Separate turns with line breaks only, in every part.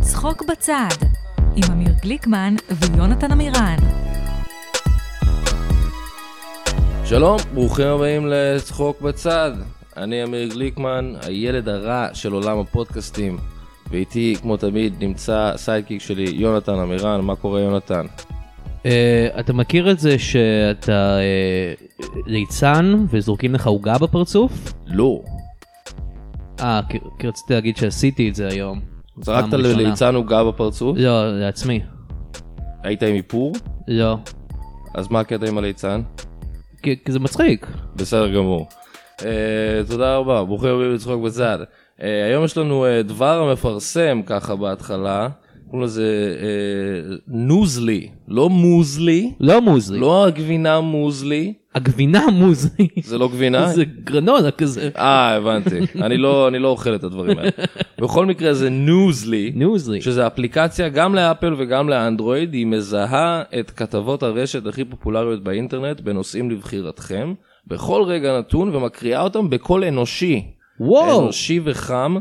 צחוק בצד, עם אמיר גליקמן ויונתן עמירן.
שלום, ברוכים הבאים לצחוק בצד. אני אמיר גליקמן, הילד הרע של עולם הפודקאסטים. ואיתי, כמו תמיד, נמצא סיידקיק שלי, יונתן עמירן. מה קורה, יונתן?
אה, אתה מכיר את זה שאתה אה, ליצן וזורקים לך עוגה בפרצוף?
לא.
אה, כי- כי רציתי להגיד שעשיתי את זה היום.
זרקת
פעם ראשונה.
לליצן עוגה בפרצוף?
לא, לעצמי.
היית עם איפור?
לא.
אז מה הקטע עם הליצן?
כי כי זה מצחיק.
בסדר גמור. Uh, תודה רבה, ברוכים הבאים לצחוק בצד. Uh, היום יש לנו uh, דבר המפרסם ככה בהתחלה, קוראים לזה uh, נוזלי, לא מוזלי,
לא מוזלי.
לא הגבינה מוזלי,
הגבינה מוזלי.
זה לא גבינה?
זה גרנולה כזה.
אה, הבנתי. אני לא אני לא אוכל את הדברים האלה. בכל מקרה זה נוזלי.
נוזלי.
שזה אפליקציה גם לאפל וגם לאנדרואיד, היא מזהה את כתבות הרשת הכי פופולריות באינטרנט בנושאים לבחירתכם, בכל רגע נתון ומקריאה אותם בקול אנושי.
וואו.
אנושי וחם,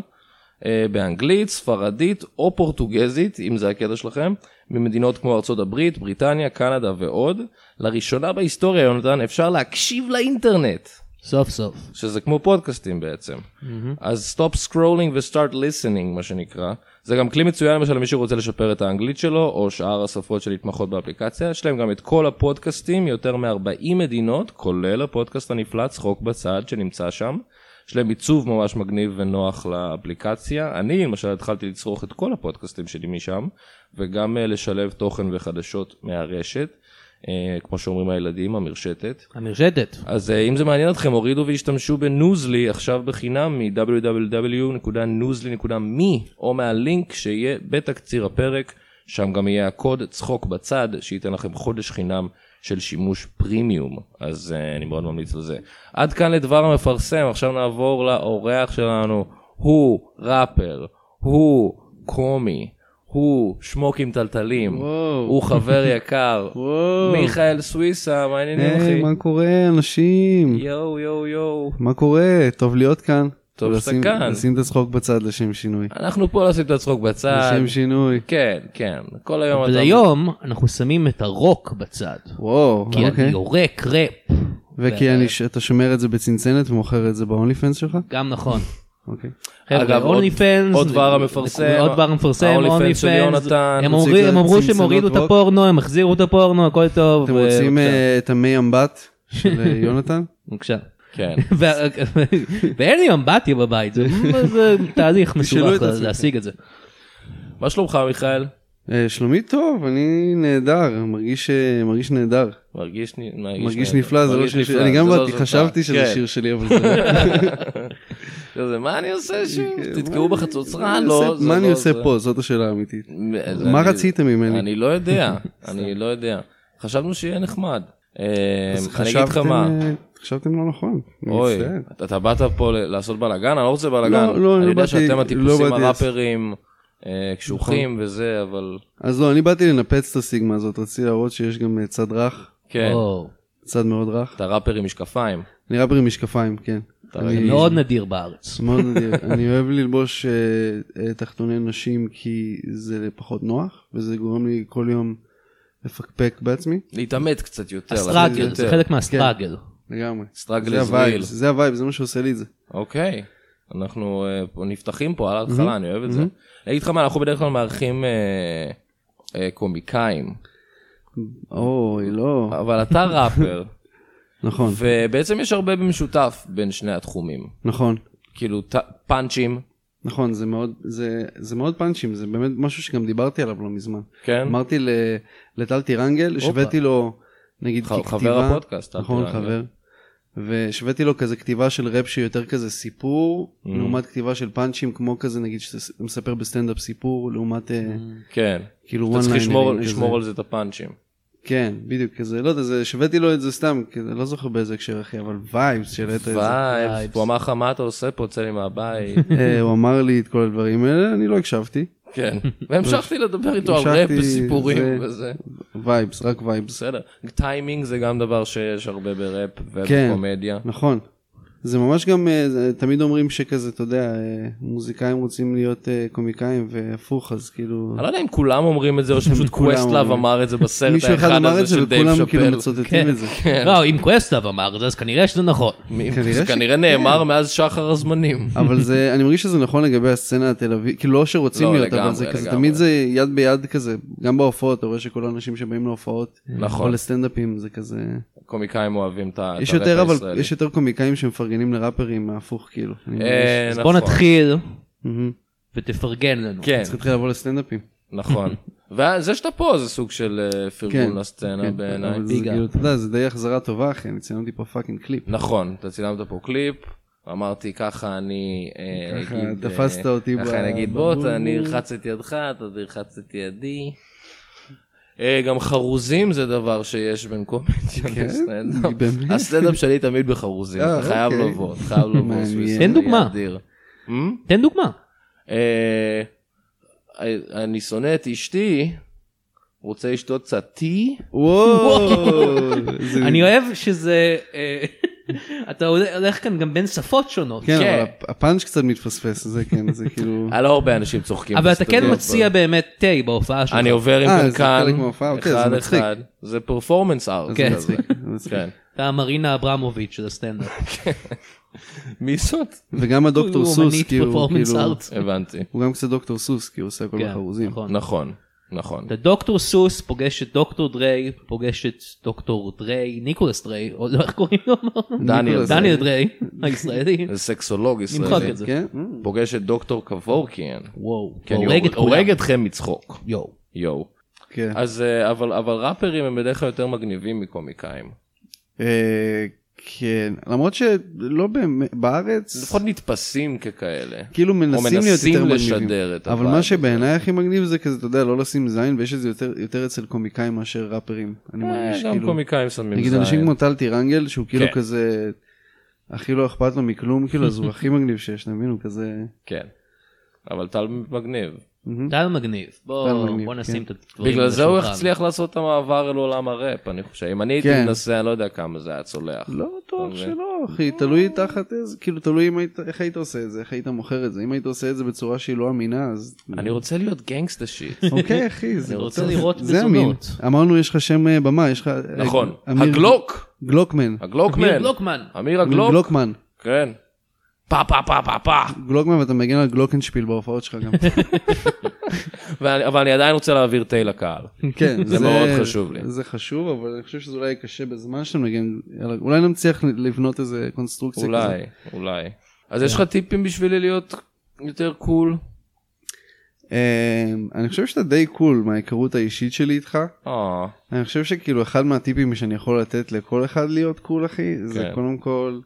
אה, באנגלית, ספרדית או פורטוגזית, אם זה הקטע שלכם, ממדינות כמו ארצות הברית, בריטניה, קנדה ועוד. לראשונה בהיסטוריה, יונתן, אפשר להקשיב לאינטרנט.
סוף סוף.
שזה כמו פודקאסטים בעצם. אז stop scrolling ו-start listening, מה שנקרא. זה גם כלי מצוין למשל למי שרוצה לשפר את האנגלית שלו, או שאר השפות שנתמכות באפליקציה. יש להם גם את כל הפודקאסטים, יותר מ-40 מדינות, כולל הפודקאסט הנפלא צחוק בצד שנמצא שם. יש להם עיצוב ממש מגניב ונוח לאפליקציה. אני למשל התחלתי לצרוך את כל הפודקאסטים שלי משם, וגם אה, לשלב תוכן וחדשות מהרשת, אה, כמו שאומרים הילדים, המרשתת.
המרשתת.
אז אה, אם זה מעניין אתכם, הורידו והשתמשו בנוזלי עכשיו בחינם מ-www.nוזלי.me או מהלינק שיהיה בתקציר הפרק, שם גם יהיה הקוד צחוק בצד, שייתן לכם חודש חינם של שימוש פרימיום, אז אה, אני מאוד ממליץ על זה. עד כאן לדבר המפרסם, עכשיו נעבור לאורח שלנו, הוא ראפר, הוא קומי, הוא שמוק עם טלטלים,
וואו.
הוא חבר יקר,
וואו.
מיכאל סוויסה, מה העניינים אחי?
היי, מה קורה, אנשים?
יואו יואו יואו.
מה קורה? טוב להיות כאן.
טוב שאתה
לשים-
כאן.
לשים את הצחוק בצד לשם שינוי.
אנחנו פה לשים את הצחוק בצד.
לשם שינוי.
כן, כן. כל היום
אבל היום אנחנו שמים את הרוק בצד.
וואו,
כי אני
אוקיי.
יורק ראפ.
וכי אני ש- אתה שומר את זה בצנצנת ומוכר את זה באונלי פנס שלך?
גם נכון.
אוקיי.
אגב,
חבר'ה,
עוד-
אונלי פנס,
עוד דבר המפרסם,
עוד דבר המפרסם,
ה-OnlyFans
אונלי
של
פנס,
יונתן,
הם
מציג
אומרים- הם אמרו שהם
צנצנות
הורידו את
רוק.
הפורנו, הם החזירו את הפורנו, הכל טוב.
אתם
ו-
רוצים
בבקשה,
אה, את המי אמבט של אה, יונתן?
בבקשה.
כן.
וה- ואין לי אמבטיה בבית, זה- זה תהליך
תשאלו
מסובך
את עצמכם.
להשיג את זה.
מה שלומך, מיכאל?
אה, שלומי טוב, אני נהדר, מרגיש אה, מרגיש נהדר.
מרגיש נ-
מרגיש נפלא, זה לא
מרגיש
שיר
נפלא,
שלי. אני גם
זה לא
באתי,
שלך.
חשבתי שזה
כן.
שיר שלי, אבל זה לא.
זה, מה אני עושה שם?
כן,
תתקעו
מה-
בחצוצרה?
מה אני
לא,
עושה-
זה
מה
לא
אני עושה
זה.
פה? זאת השאלה האמיתית.
אז
מה
אני-
רציתם ממני?
אני לא יודע, אני לא יודע. חשבנו שיהיה נחמד. אה,
אז
אני אגיד לך
חשבתם,
מה.
אה, חשבתם לא נכון. אני
אוי,
מצטער.
אתה- אתה באת פה ל- לעשות בלאגן? אני לא רוצה בלאגן.
לא, לא,
אני
לא
יודע
באתי-
שאתם
לא
הטיפוסים
באתי- נכון.
הראפרים, אה, קשוחים וזה, אבל...
אז לא, אני באתי לנפץ את הסיגמה הזאת, רציתי להראות שיש גם אה, צד רך,
כן,
או,
צד מאוד רך.
אתה ראפר עם משקפיים.
אני ראפר עם משקפיים, כן.
זה
אני-
מאוד נדיר בארץ.
מאוד נדיר. אני אוהב ללבוש אה, אה, תחתוני נשים כי זה פחות נוח, וזה גורם לי כל יום לפקפק בעצמי.
להתעמת קצת יותר.
הסטראגל,
לעשות
זה
יותר.
חלק מהסטראגל.
לגמרי.
Struggle
זה
is
הווייב,
real.
זה הווייב, זה מה שעושה לי את זה.
אוקיי, אנחנו אה, פה נפתחים פה על ההתחלה, אני אוהב את זה. אני אגיד לך מה, אנחנו בדרך כלל מארחים אה, אה, קומיקאים,
אוי, לא.
אבל אתה ראפר,
נכון,
ובעצם יש הרבה במשותף בין שני התחומים.
נכון.
כאילו, ת- פאנצ'ים,
נכון, זה מאוד, זה, זה מאוד פאנצ'ים, זה באמת משהו שגם דיברתי עליו לא מזמן.
כן?
אמרתי ל- לטל טירנגל, השוויתי לו, נגיד,
ח-
ככתיבה.
חבר הפודקאסט, טל
נכון,
טירנגל.
חבר. והשוויתי לו כזה כתיבה של ראפ שהיא יותר כזה סיפור,
Mm.
לעומת כתיבה של פאנצ'ים, כמו כזה, נגיד, שאתה מספר בסטנדאפ סיפור, לעומת אה,
כן.
כאילו
אתה
וואן
צריך
ליינרים.
לשמור- לשמור על זה את הפאנצ'ים.
כן, בדיוק, כזה, לא יודע, זה- השוויתי לו את זה סתם, כזה, לא זוכר באיזה הקשר אחי, אבל וייבס שהעלית את זה.
וייבס,
וייבס.
הוא אמר לך, מה אתה עושה פה, צא לי מהבית.
אה, הוא אמר לי את כל הדברים האלה, אני לא הקשבתי.
כן. והמשכתי לדבר איתו על ראפ
המשכתי,
וסיפורים
זה-
וזה.
וייבס, רק וייבס.
בסדר. טיימינג זה גם דבר שיש הרבה בראפ
כן.
ובקומדיה.
נכון. זה ממש גם, אה, זה- תמיד אומרים שכזה, אתה יודע, אה, מוזיקאים רוצים להיות אה, קומיקאים והפוך, אז כאילו...
אני לא יודע אם כולם אומרים את זה, או שפשוט
כולם
קווסטלאב
אומרים.
אמר את זה בסרט
מישהו אחד
האחד
אמר את
הזה
זה
של דייב
וכולם כאילו
שאפל.
מצוטטים
כן.
את זה.
לא, אם קווסטלב אמר את זה, אז כנראה שזה נכון.
מי-
כנראה
זה
ש- כן.
כנראה נאמר מאז שחר הזמנים.
אבל זה, אני מרגיש שזה נכון לגבי הסצנה התל אביב, כאילו לא שרוצים
לא,
להיות, אבל
לגמרי,
זה כזה,
לגמרי.
תמיד זה יד ביד כזה, גם בהופעות, אתה רואה שכל האנשים שבאים להופעות, או
נכון, אה,
לסטנדאפים, זה כזה,
קומיקאים אוהבים את ה- את
יש
הראפ
יותר, אבל,
הישראלי.
יש יותר קומיקאים שמפרגנים לראפרים מהפוך, כאילו. אני מרגיש.
אה,
אז בוא
נכון.
נתחיל
מהמם.
ותפרגן לנו.
כן,
צריך להתחיל לבוא לסטנדאפים.
נכון. וזה שאתה פה זה סוג של אה, פרגון
כן,
לסצנה
כן,
בעיניי.
אבל זה
ביגה.
כאילו, אתה יודע, זה די החזרה טובה, אחי, אני ציינתי פה פאקינג קליפ.
נכון, אתה צילמת פה קליפ, אמרתי ככה אני... אה,
ככה
אגיד, אה,
תפסת אותי
ככה אני
ב-
אגיד בוא, אתה- אני
בבולבול."
ארחץ את ידך, אתה תרחץ את ידי. אה, גם חרוזים זה דבר שיש בין קומדיאן
כן?
לסטנדאפ.
באמת?
הסטנדאפ שלי תמיד בחרוזים,
אה,
אתה חייב
אוקיי.
לבוא, אתה חייב לבוא.
מעניין.
סוויסה,
תן
זה
דוגמה.
אדיר. Hmm?
תן דוגמה.
אה, אני שונא את אשתי, רוצה לשתות קצת טי,
וואו! זה-
אני אוהב שזה... אה, אתה הולך כאן גם בין שפות שונות.
כן,
כן.
אבל הפ- הפאנץ' קצת מתפספס, זה כן, זה כאילו...
אה,
היה לא הרבה אנשים צוחקים.
אבל אתה כן
בסטודיו,
מציע
אבל-
באמת תה בהופעה שלך.
אני עובר עם
אה, זה
קנקן,
חלק מההופעה, אוקיי, זה
אחד
מצחיק.
אחד, זה פרפורמנס ארט.
כן.
מצחיק, מצחיק.
כן.
אתה מרינה אברמוביץ' של הסטנדאפ.
מי זאת?
וגם הדוקטור
הוא
סוס,
אומנית
כי הוא
performance
כאילו...
arts.
הבנתי.
הוא גם קצת דוקטור סוס, כי הוא עושה כל
כן,
החרוזים.
נכון.
נכון, נכון.
אתה דוקטור סוס פוגש את דוקטור דריי, פוגש את דוקטור דריי, ניקולס דרי, או לא, איך קוראים לו?
דניאל.
דניאל דריי, הישראלי.
זה סקסולוג
נמחק
ישראלי.
את זה.
כן? אה,
פוגש את דוקטור קבורקיאן.
וואו.
כן,
הורג
הורג-
את
הורג
כולם.
אתכם מצחוק.
יואו.
יואו.
כן.
אז אה, אבל אבל ראפרים הם בדרך כלל יותר מגניבים מקומיקאים.
אה, כן, למרות שלא באמת, בארץ,
לפחות נתפסים ככאלה.
כאילו מנסים להיות
מנסים
יותר
לשדר
מגניבים.
את
אבל
הווייב
מה שבעיניי הכי מגניב זה כזה, אתה יודע, לא לשים זין, ויש את זה יותר- יותר אצל קומיקאים מאשר ראפרים. אני
אה,
מרגיש
גם
כאילו...
קומיקאים שמים
נגיד אנשים
זין.
כמו טל טירנגל, שהוא כאילו
כן.
כזה, הכי לא אכפת לו מכלום, כאילו, אז הוא הכי מגניב שיש, אתה מבין? הוא כזה...
כן. אבל טל מגניב.
מהמם.
טל מגניב. בוא
טל מגניב,
בוא
כן.
נשים את הדברים.
בגלל
על
זה הוא
השולחן.
הצליח לעשות את המעבר אל עולם הראפ, אני חושב. אם אני הייתי
כן.
מנסה, אני לא יודע כמה זה היה צולח.
לא בטוח
אבל-
שלא, אחי, תלוי תחת איזה, כאילו תלוי אם היית- איך היית עושה את זה, איך היית מוכר את זה. אם היית עושה את זה בצורה שהיא לא אמינה, אז...
אני רוצה להיות גנגסטה שיט.
אוקיי, אחי, זה
אני רוצה לראות
זה אמין.
מזונות.
אמרנו, יש לך שם אה, במה, יש לך... אה,
נכון.
אמיר-
הגלוק!
גלוקמן.
הגלוקמן.
אמיר גלוקמן.
אמיר
אמיר
הגלוק.
גלוקמן.
כן. פה פה פה פה פה.
גלוקמן, ואתה מגן על גלוקנשפיל בהופעות שלך גם.
ואני- אבל אני עדיין רוצה להעביר תה לקהל.
כן,
זה מאוד חשוב לי.
זה חשוב, אבל אני חושב שזה אולי קשה בזמן שאתה מגן, אלא- אולי נצליח לבנות איזה קונסטרוקציה כזאת.
אולי, אולי. אז
כן.
יש לך טיפים בשבילי להיות יותר קול?
אמ, אני חושב שאתה די קול מההיכרות האישית שלי איתך.
אה,
אני חושב שכאילו אחד מהטיפים שאני יכול לתת לכל אחד להיות קול אחי, זה
כן.
קודם כל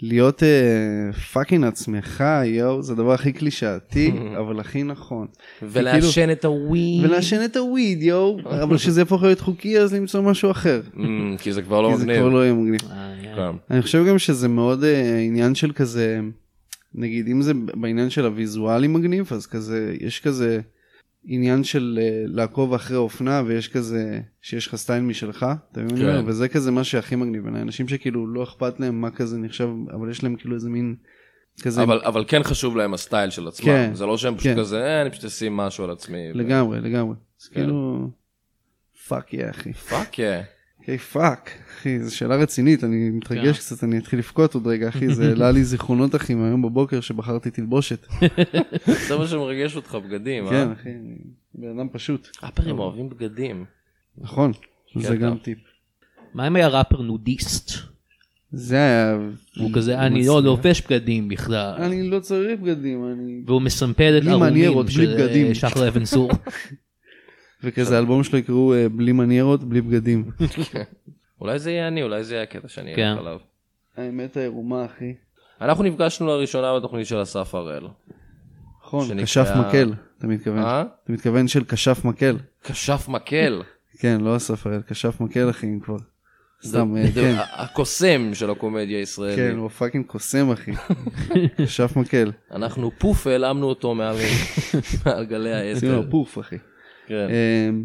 להיות אה, פאקינג עצמך יואו, זה הדבר הכי קלישאתי, אבל הכי נכון.
ולעשן את הווי.
ולעשן את הוויד יואו, אבל שזה יהפוך להיות חוקי אז למצוא משהו אחר.
Mm, כי זה כבר לא
כאילו- כי זה
מגניב.
כבר לא יהיה מגניב.
אה, כן.
כן.
אני חושב גם שזה מאוד אה, עניין של כזה, נגיד אם זה בעניין של הוויזואלי מגניב, אז כזה, יש כזה עניין של אה, לעקוב אחרי אופנה, ויש כזה, שיש לך סטייל משלך, אתה מבין?
כן.
כן. וזה כזה מה שהכי מגניב בעיניי, אנשים שכאילו לא אכפת להם מה כזה נחשב, אבל יש להם כאילו איזה מין כזה,
אבל, אבל כן חשוב להם הסטייל של עצמם,
כן,
זה לא שהם פשוט
כן.
כזה, "אה, אני פשוט אשים משהו על עצמי.
לגמרי, לגמרי. אז
כן.
כאילו, פאק יא אחי.
פאק יא.
היי פאק, אחי, זו שאלה רצינית, אני מתרגש
כן.
קצת, אני אתחיל לבכות עוד רגע, אחי, זה העלה לי זיכרונות, אחי, מהיום בבוקר שבחרתי תלבושת.
זה מה שמרגש אותך, בגדים,
כן,
אה?
אחי, אני בן אדם פשוט.
ראפרים אוהבים בגדים.
נכון, זה
אתה.
גם טיפ.
מה אם היה ראפר נודיסט?
זה היה...
הוא
אה,
כזה, אני לא לובש בגדים בכלל.
אני לא צריך בגדים, אני...
והוא מסמפל את
בלי
ערומים
מניירות, בלי
של
בגדים.
אה, שחר אבן צור.
וכזה האלבום שלו יקראו אה, בלי מניירות, בלי בגדים.
אולי זה יהיה אני, אולי זה יהיה הקטע שאני
כן.
אלך עליו.
האמת העירומה, אחי.
אנחנו נפגשנו לראשונה בתוכנית של אסף הראל.
נכון,
שנקרא-
כשף מקל, אתה מתכוון.
אה?
אתה מתכוון של כשף מקל.
כשף מקל.
כן, לא אסף הראל, כשף מקל, אחי, אם כבר. סתם, אה,
זה-
כן.
ה- הקוסם של הקומדיה הישראלית.
כן, הוא פאקינג קוסם, אחי. כשף מקל.
אנחנו פוף העלמנו אותו מעל מעל גלי
עשינו
האתר.
לו פוף, אחי.
כן.
אמ,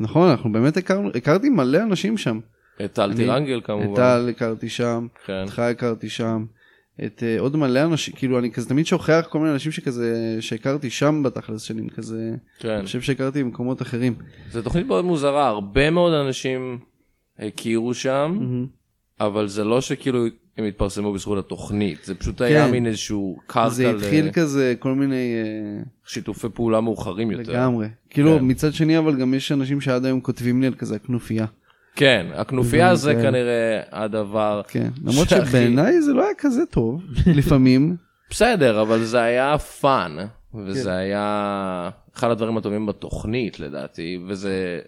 נכון, אנחנו באמת הכרנו, הכרתי מלא אנשים שם.
את טל
אה, אני-
טירנגל
את
כמובן.
טל הכרתי שם,
כן.
אותך הכרתי שם, את אה, עוד מלא אנשים, כאילו אני כזה תמיד שוכח כל מיני אנשים שכזה, שהכרתי שם בתכלס, שאני כזה,
כן.
אני חושב שהכרתי במקומות אחרים.
זו תוכנית מאוד מוזרה, הרבה מאוד אנשים הכירו שם, אבל זה לא שכאילו הם התפרסמו בזכות התוכנית, זה פשוט היה
כן.
מין איזשהו
זה
קרקע
התחיל כזה כל מיני... אה,
לשיתופי פעולה מאוחרים יותר.
לגמרי. כאילו
כן.
מצד שני אבל גם יש אנשים שעד היום כותבים לי על כזה הכנופיה.
כן, הכנופיה זה
כן.
כנראה הדבר.
כן. למרות
שהכי-
שבעיניי זה לא היה כזה טוב לפעמים.
בסדר, אבל זה היה פאן,
כן.
וזה היה אחד הדברים הטובים בתוכנית לדעתי, וזה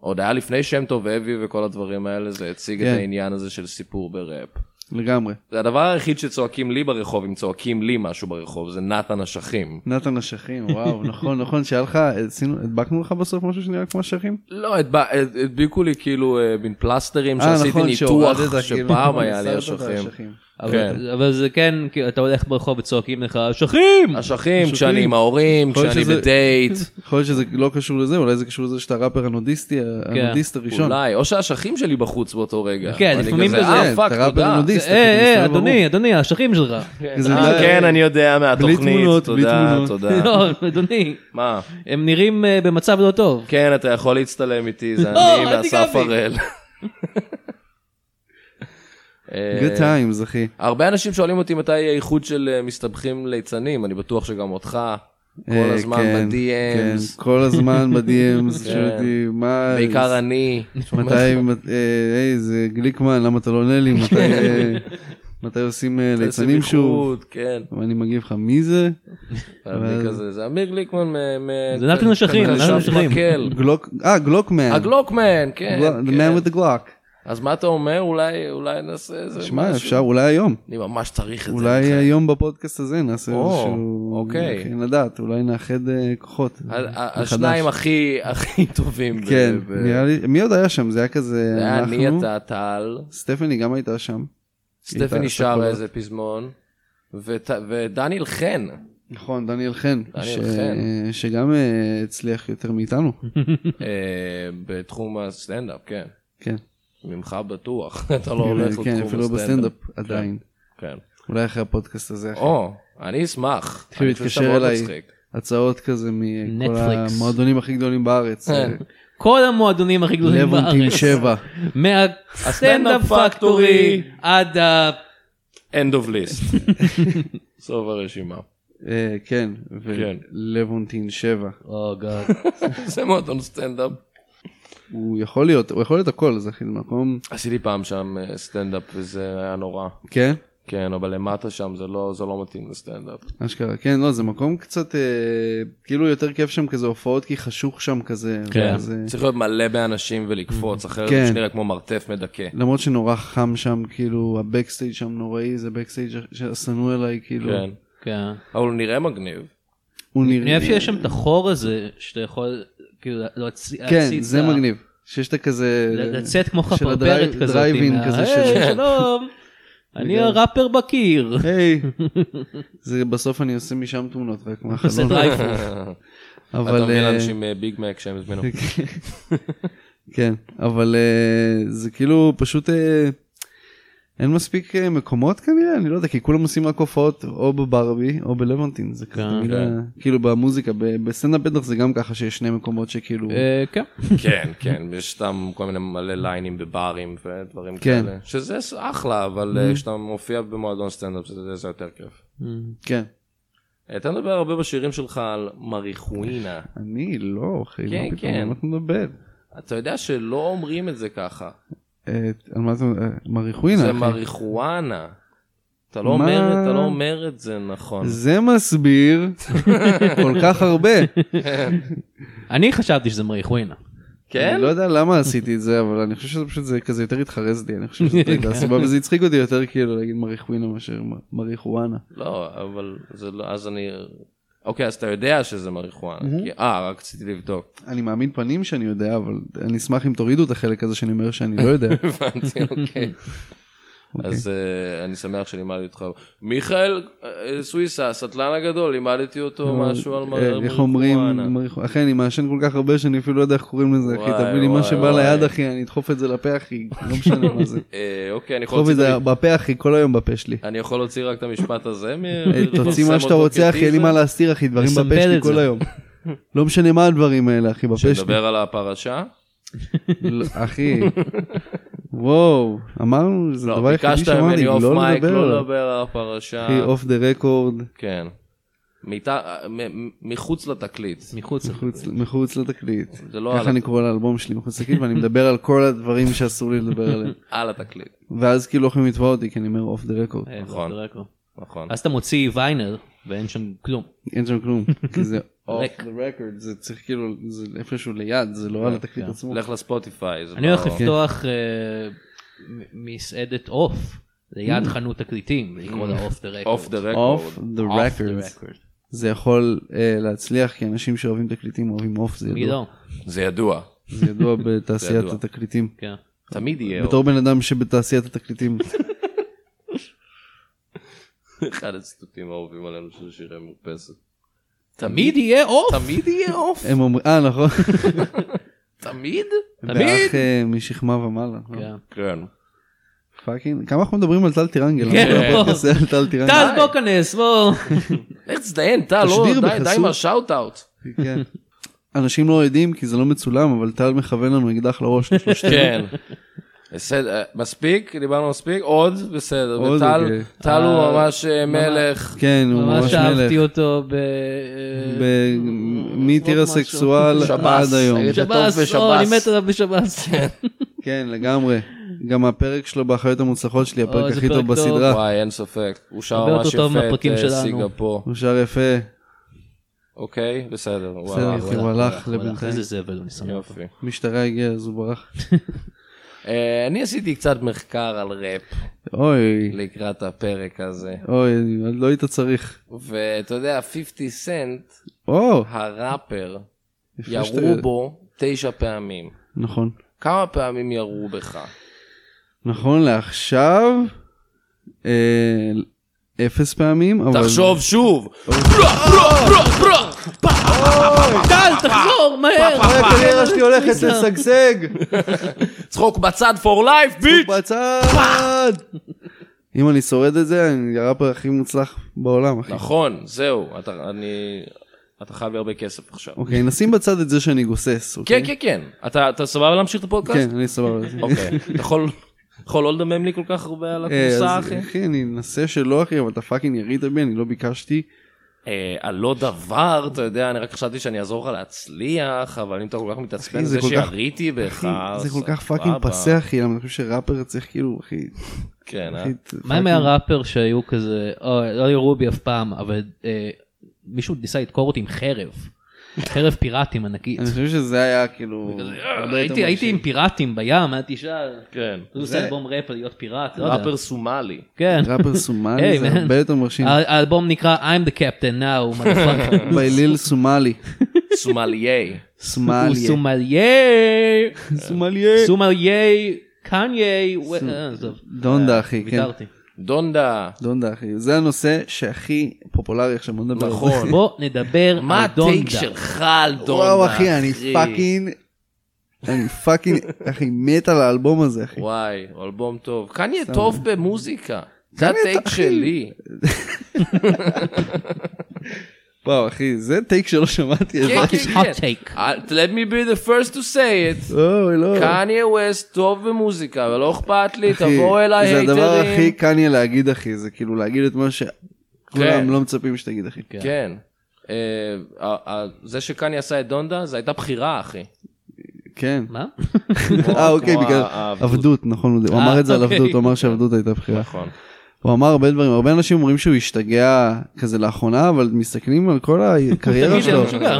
עוד היה לפני שם טוב אבי וכל הדברים האלה, זה הציג את
כן.
העניין הזה של סיפור בראפ.
לגמרי.
זה הדבר היחיד שצועקים לי ברחוב, אם צועקים לי משהו ברחוב, זה נתן אשכים.
נתן אשכים וואו נכון נכון שהיה לך עשינו- הדבקנו לך בסוף משהו שנראה כמו אשכים?
לא, הדב- הד- הדביקו לי כאילו אה, מן פלסטרים
אה,
שעשיתי
נכון,
ניתוח,
שהורדת, כאילו,
שפעם היה לי
הסרת את
אשכים.
האשכים.
כן.
אבל אבל זה כן, כאילו, אתה הולך ברחוב וצועקים לך, אשכים!
אשכים, כשאני עם ההורים,
יכול להיות
כשאני
שזה-
בדייט,
יכול להיות שזה לא קשור לזה אולי זה קשור לזה שאתה ראפר הנודיסטי הנודיסט הראשון.
כן, אולי, או שהאשכים שלי בחוץ באותו רגע.
כן,
ואני
לפעמים כזה,
אה, פאק,
אתה ראפר
תודה.
נודיסט,
אה, אה,
מסתובב ברור.
אדוני, אדוני, האשכים שלך.
זה
אה,
לא-
כן, אני יודע
בלי
מהתוכנית,
תמונות, בלי
תודה,
תמונות.
תודה.
לא, אדוני,
מה?
הם נראים אה, במצב לא טוב.
כן, אתה יכול להצטלם איתי, זה
לא,
אני
אל
ואסף
תיגע בי.
הראל. אה,
Good times אחי.
הרבה אנשים שואלים אותי מתי יהיה איחוד של אה, מסתבכים ליצנים, אני בטוח שגם אותך, כל
אה,
הזמן
כן,
ב-DMs,
כן, כל הזמן ב-DMs. שואלים אותי, מה-
כן. בעיקר אני.
מתי, אה, היי זה גליקמן למה אתה לא עונה לי, מתי, אה, מתי עושים אה, ליצנים
איזה
שוב,
בייחוד, כן,
ואני מגיב לך מי זה,
ואני כזה, זה אמיר גליקמן, מ- מ-
זה נתן אשכים,
כתב
נתן אשכים.
מקל.
גלוק, אה גלוקמן,
הגלוקמן, כן.
גלוק- the
כן.
man with the glock,
אז מה אתה אומר? אולי, אולי נעשה איזה
שמע אפשר אולי היום,
אני ממש צריך את
אולי
זה.
היום בפודקאסט הזה נעשה
או,
איזשהו,
אוקיי.
כן, לדעת, אולי נאחד אה, כוחות,
ה- ה-
מחדש.
השניים הכי הכי טובים. ב-
כן,
ב-
נראה לי, מי עוד היה שם, זה היה כזה,
זה היה אני,
אנחנו,
אתה, טל,
סטפני גם הייתה שם,
סטפני
עשתה
שרה
קולות.
איזה פזמון, ות- ודניאל חן.
נכון דניאל חן,
דניאל
ש-
חן.
אה, שגם אה, הצליח יותר מאיתנו,
אה, בתחום הסטנדאפ, כן.
כן,
ממך בטוח, אתה לא הולך לתחום
כן,
הסטנדאפ.
אפילו לא בסטנדאפ עדיין.
כן.
אולי אחרי הפודקאסט הזה, אחי.
או, אני אשמח.
תתחילו
אני חושב שאתה
להתקשר
מאוד
אליי.
מצחיק.
הצעות כזה מכל
נטפליקס.
המועדונים הכי גדולים בארץ. אה,
כן.
כל המועדונים הכי גדולים
לבונטין
בארץ.
7.
מהסטנדאפ פקטורי עד ה...
end of list. סוף הרשימה.
אה, כן,
כן.
ולבונטין 7.
Oh,
או גאד.
זה מועדון סטנדאפ.
הוא יכול להיות, הוא יכול להיות הכל, זה הכי מקום.
עשיתי פעם שם אה, סטנדאפ וזה היה נורא.
כן,
כן, אבל למטה שם זה לא, זה לא מתאים לסטנדאפ.
אשכרה. כן, לא, זה מקום קצת, אה, כאילו יותר כיף שם כזה הופעות, כי חשוך שם כזה. אה,
כן.
וזה-
צריך להיות מלא באנשים ולקפוץ, אחרת
כן.
זה פשוט נראה כמו מרתף מדכא.
למרות שנורא חם שם, כאילו, הבקסטייג' שם נוראי, זה בקסטייג' ששנוא אליי, כאילו.
כן.
כן.
אבל הוא נראה מגניב.
הוא
אני
נראה...
אוהב שיש שם את החור הזה, שאתה יכול כאילו להוציא...
כן,
להציץ
זה
ל-
מגניב. שיש את הכזה...
ל- לצאת כמו
של
חפרפרת
הדרייב-
כזאת.
דרייב-אין
עם ה-
כזה
"היי,
של-
שלום, אני הראפר בקיר.
היי. זה בסוף אני עושה משם תמונות רק
עושה
מהחלון.
דרייב
אה,
אבל... אתה
אבל...
מביא
אה,
לאנשים אה, ביג מק שהם הזמינו.
כן, אבל אה, זה כאילו פשוט אה, אין מספיק אה, מקומות כנראה, אני לא יודע, כי כולם עושים רק הופעות או בברבי או בלוונטין, זה כזה,
כן,
תמיד
כן.
ה- כאילו במוזיקה, ב- בסטנדאפ בטח זה גם ככה שיש שני מקומות שכאילו,
אה.
כן.
כן, כן, יש סתם כל מיני מלא ליינים בברים ודברים
כן. Mm-hmm.
כאלה. שזה ס- אחלה, אבל אה, כשאתה מופיע במועדון סטנדאפ זה זה יותר כיף.
כן,
אה, אתה מדבר הרבה בשירים שלך על מריחואינה.
אני לא, אחי,
כן,
מה פתאום,
כן.
על מה אתה מדבר?
אתה יודע שלא אומרים את זה ככה.
אה, על מה אתה, אה, מריחואינה,
זה
אחי.
מריחואנה. אתה לא
מה?
אומר- אתה לא אומר את זה נכון.
זה מסביר כל כך הרבה.
אני חשבתי שזה מריחואינה.
כן?
אני לא יודע למה עשיתי את זה, אבל אני חושב שזה פשוט זה כזה יותר התחרז לי, אני חושב שזאת הייתה הסיבה, וזה הצחיק אותי יותר כאילו להגיד מריחואינה מאשר מ- מריחואנה.
לא, אבל זה לא, אז אני... אוקיי, אז אתה יודע שזה מריחואנה. כי- אה, רק רציתי לבדוק.
אני מעמיד פנים שאני יודע, אבל אני אשמח אם תורידו את החלק הזה שאני אומר שאני לא יודע. אוקיי.
הבנתי, אוקיי. אז אה, אני שמח שלימדתי אותך. מיכאל אה, סוויסה, הסטלן הגדול, לימדתי אותו משהו על מר-
אה,
מריחואנה.
איך אומרים, מריחואנה. אחי, אני מעשן כל כך הרבה שאני אפילו לא יודע איך קוראים לזה, אחי,
וואי,
תביא לי מה
וואי,
שבא
וואי.
ליד, אחי, אני אדחוף את זה לפה, אחי, לא משנה מה זה.
אה, אוקיי, אני יכול
קחו
להוציא את
מזה
המ-
בפה אחי, כל היום בפה שלי.
אני יכול להוציא רק את המשפט הזה? מ-
אה, תוציא
ולפרסם
מה שאתה
אותו
רוצה אחי, אין לי
כטיזר?
מה להסתיר אחי, דברים
לסמבל
בפה שלי
את זה.
כל היום. לא משנה מה הדברים האלה אחי, בפה שלי.
שנדבר על הפרשה?
לא, אחי, וואו, אמרנו, זה הדבר
לא,
היחידי
ביקשת
שאמרתי,
ממני אוף
לא
מייק,
לדבר
לא
עליו.
לדבר על הפרשה.
אחי, אוקיי. אוף דה רקורד,
כן. מית- מ- מחוץ לתקליט.
מחוץ
מחוץ לתקליט.
זה לא על
ככה אני
התקליט.
קורא לאלבום שלי מחוץ לתקליט, ואני מדבר על כל הדברים שאסור לי לדבר עליהם.
על התקליט,
ואז כאילו לא יכולים לתבוע אותי, כי אני אומר אוף דה רקורד.
אה,
נכון.
זה רק הוא.
נכון.
אז אתה מוציא ויינר ואין שם כלום.
אין שם כלום, כי זה אוף
ריק.
דה רקורד, זה צריך כאילו, זה איפשהו ליד, זה לא על התקליט
כן.
עצמו.
לך לספוטיפיי. זה
אני הולך
לא-
לפתוח אה, מ- מסעדת עוף ליד
Mm.
חנות תקליטים ולקרוא לה אוף דה רקורד.
אוף דה
אוף
רקורד.
דה רקורד. זה יכול אה, להצליח, כי אנשים שאוהבים תקליטים אוהבים אוף, זה ידוע.
גדעון,
זה ידוע.
זה ידוע בתעשיית
זה ידוע.
התקליטים.
כן.
תמיד יהיה
בתור בן אדם שבתעשיית התקליטים.
אוף. אחד הציטוטים האהובים עלינו של שירי מרפסת.
תמיד יהיה עוף.
תמיד יהיה אוף?
הם אומרים, אה נכון,
תמיד?
באח אה, משכמה ומעלה. נכון.
כן.
כן.
פאקינג, כמה אנחנו מדברים על טל טירנגל,
כן,
אנחנו
בוא.
בפודקאסט על טל טירנגל.
טל בוא כנס בוא.
לך תזדיין, טל, לא,
תשדיר
די, די
בחסות.
עם השאוט-אאוט.
כן. אנשים לא יודעים כי זה לא מצולם, אבל טל מכוון לנו אקדח לראש לשלושתנו.
כן. בסדר, מספיק? דיברנו מספיק? עוד? בסדר.
עוד,
וטל,
אוקיי.
טל הוא
אה,
ממש אה, מלך.
כן, הוא ממש
ממש
מלך.
אהבתי אותו ב... אה,
ב- מטירסקסואל
משהו.
עד
שב"ס.
היום.
היית טוב
שב"ס, או, אני
בשב"ס.
מת עליו בשב"ס.
כן, לגמרי. גם הפרק שלו באחיות המוצלחות שלי,
אוי,
הפרק
זה
הכי
פרק
טוב
טוב.
בסדרה.
וואי, אין ספק. הוא שר
הרבה יותר
ממש
טוב
יפה את
מהפרקים
אה,
שלנו.
סיגפור.
הוא שר יפה.
אוקיי, בסדר. הוא
בסדר,
הלך.
אחי, הוא הלך
הוא הלך,
לבינתיים.
איזה זבל אני שם.
יופי.
משטרה הגיעה אז הוא ברח.
אה, אני עשיתי קצת מחקר על ראפ
אוי,
לקראת הפרק הזה,
אוי, לא היית צריך.
ואתה יודע, 50 סנט,
או,
הראפר,
יפה
ירו
שאתה-
בו תשע פעמים.
נכון.
כמה פעמים ירו בך?
נכון לעכשיו, אה, אפס פעמים, אבל...
תחשוב שוב!
טל, תחזור, מהר.
אה, הקריירה שלי הולכת לשגשג!
צחוק בצד for life, ביט!
בצד! אם אני שורד את זה, אני הראפר הכי מוצלח בעולם, אחי.
נכון, זהו, אתה- אני... אתה חייב לי הרבה כסף עכשיו.
אוקיי, נשים בצד את זה שאני גוסס,
כן,
אוקיי?
כן, כן. אתה אתה סבבה להמשיך את הפודקאסט?
כן, אני סבבה. על זה.
אוקיי. אתה יכול- יכול לא לדמם לי כל כך הרבה על
אה,
הכורסה,
אז,
אוקיי, אחי?
אחי, אני אנסה שלא, אחי, אבל אתה פאקינג ירית בי, אני לא ביקשתי.
אה, על לא דבר, אתה יודע, אני רק חשבתי שאני אעזור לך להצליח, אבל אם אתה כל כך מתעצבן
אחי,
על
זה
זה
כל כך-
שיריתי בך,
אחי, זה כל כך
סבבה.
פאקינג פסה, אחי, למה אני חושב שראפר צריך כאילו, אחי...
כן, אה?
אחי,
מה עם
פאקינג-
הראפר שהיו כזה, אוי, לא יראו בי אף פעם, אבל אה, מישהו ניסה לדקור אותי עם חרב. חרב פיראטים ענקית. אה,
אני חושב שזה היה כאילו...
אה,
הרבה יותר
הייתי- הייתי
מרשים.
עם פיראטים בים, היה תשאל.
כן.
הוא
זה-
עושה אלבום ראפ על להיות פיראט, לא יודע.
ראפר סומלי.
כן.
ראפר סומלי
היי, אה,
זה
man.
הרבה יותר מרשים.
ה- האלבום נקרא I'm the captain now, motherfucker.
בליל סומלי.
סומליי.
הוא
סומלי.
סומליה.
סומלי.
סומליה. קניה. ו- אה, עזוב.
דונדה אחי, כן.
ויתרתי.
דונדה.
דונדה אחי. זה הנושא שהכי פופולרי עכשיו, לא בוא נדבר על זה.
נכון.
בוא נדבר
מה
על
הטייק
דונדה.
שלך על דונדה?
וואו אחי, אני פאקינג... אני פאקינג, אחי, מת על האלבום הזה, אחי.
וואי, אלבום טוב. קניה טוב במוזיקה. זה
קניה,
הטייק
אחי.
שלי.
וואו, אחי, זה טייק שלא שמעתי. אז-
כן, כן,
It's
כן.
hot take.
I'll- Let me be the first to say it.
אוי, לא.
קניה ווסט טוב במוזיקה, ולא אכפת לי,
אחי,
תבואו אליי
זה
הייטרים.
הדבר הכי קניה להגיד, אחי. זה כאילו להגיד את מה שכולם לא מצפים שתגיד, אחי.
כן. אה, ה- ה- זה שקני עשה את דונדה, זו הייתה בחירה, אחי.
כן.
מה?
אה, אוקיי,
כמו
בגלל
העבדות.
עבדות, נכון. הוא
אה,
אמר את זה על
אוקיי.
עבדות, הוא אמר שעבדות הייתה בחירה.
נכון.
הוא אמר הרבה דברים, הרבה אנשים אומרים שהוא השתגע כזה לאחרונה, אבל מסתכלים על כל הקריירה
תמיד
שלו.
היה משוגע.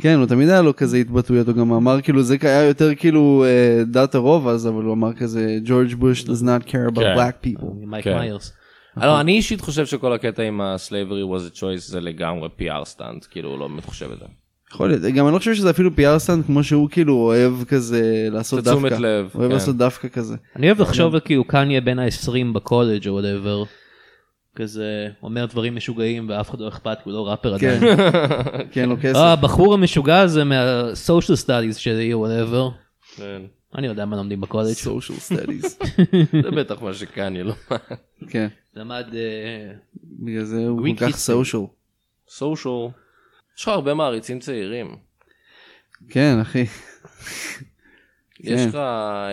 כן, הוא תמיד היה לו כזה התבטאויות, הוא גם אמר כאילו, זה היה יותר כאילו אה, דת הרוב אז, אבל הוא אמר כזה, ג'ורג' בוש does not care about
כן.
black people.
מייק
כן.
מיירס.
לא, אני אישית חושב שכל הקטע עם ה-slavery was a choice זה לגמרי PR סטאנט, כאילו, הוא לא באמת חושב את זה.
יכול להיות, גם אני לא חושב שזה אפילו PR סטנד כמו שהוא כאילו אוהב כזה לעשות
זה
דווקא.
תשומת לב,
אוהב
כן.
לעשות דווקא כזה.
אני אוהב לחשוב על כאילו קניה בין ה-20 בקולג' או וואטאבר. כזה אומר דברים משוגעים ואף אחד לא אכפת, הוא לא ראפר
כן,
עדיין.
כן, לו כסף.
אה, כן.
אה, הבחור המשוגע הזה מה-social studies שלי או וואטאבר. אני יודע מה לומדים בקולג'.
social studies.
כן. זה בטח מה שקניה לא...
כן,
למד... אה,
בגלל זה הוא
Greek
כל כך
history.
social.
social. יש לך הרבה מעריצים צעירים.
כן, אחי, כן.
יש לך... אה,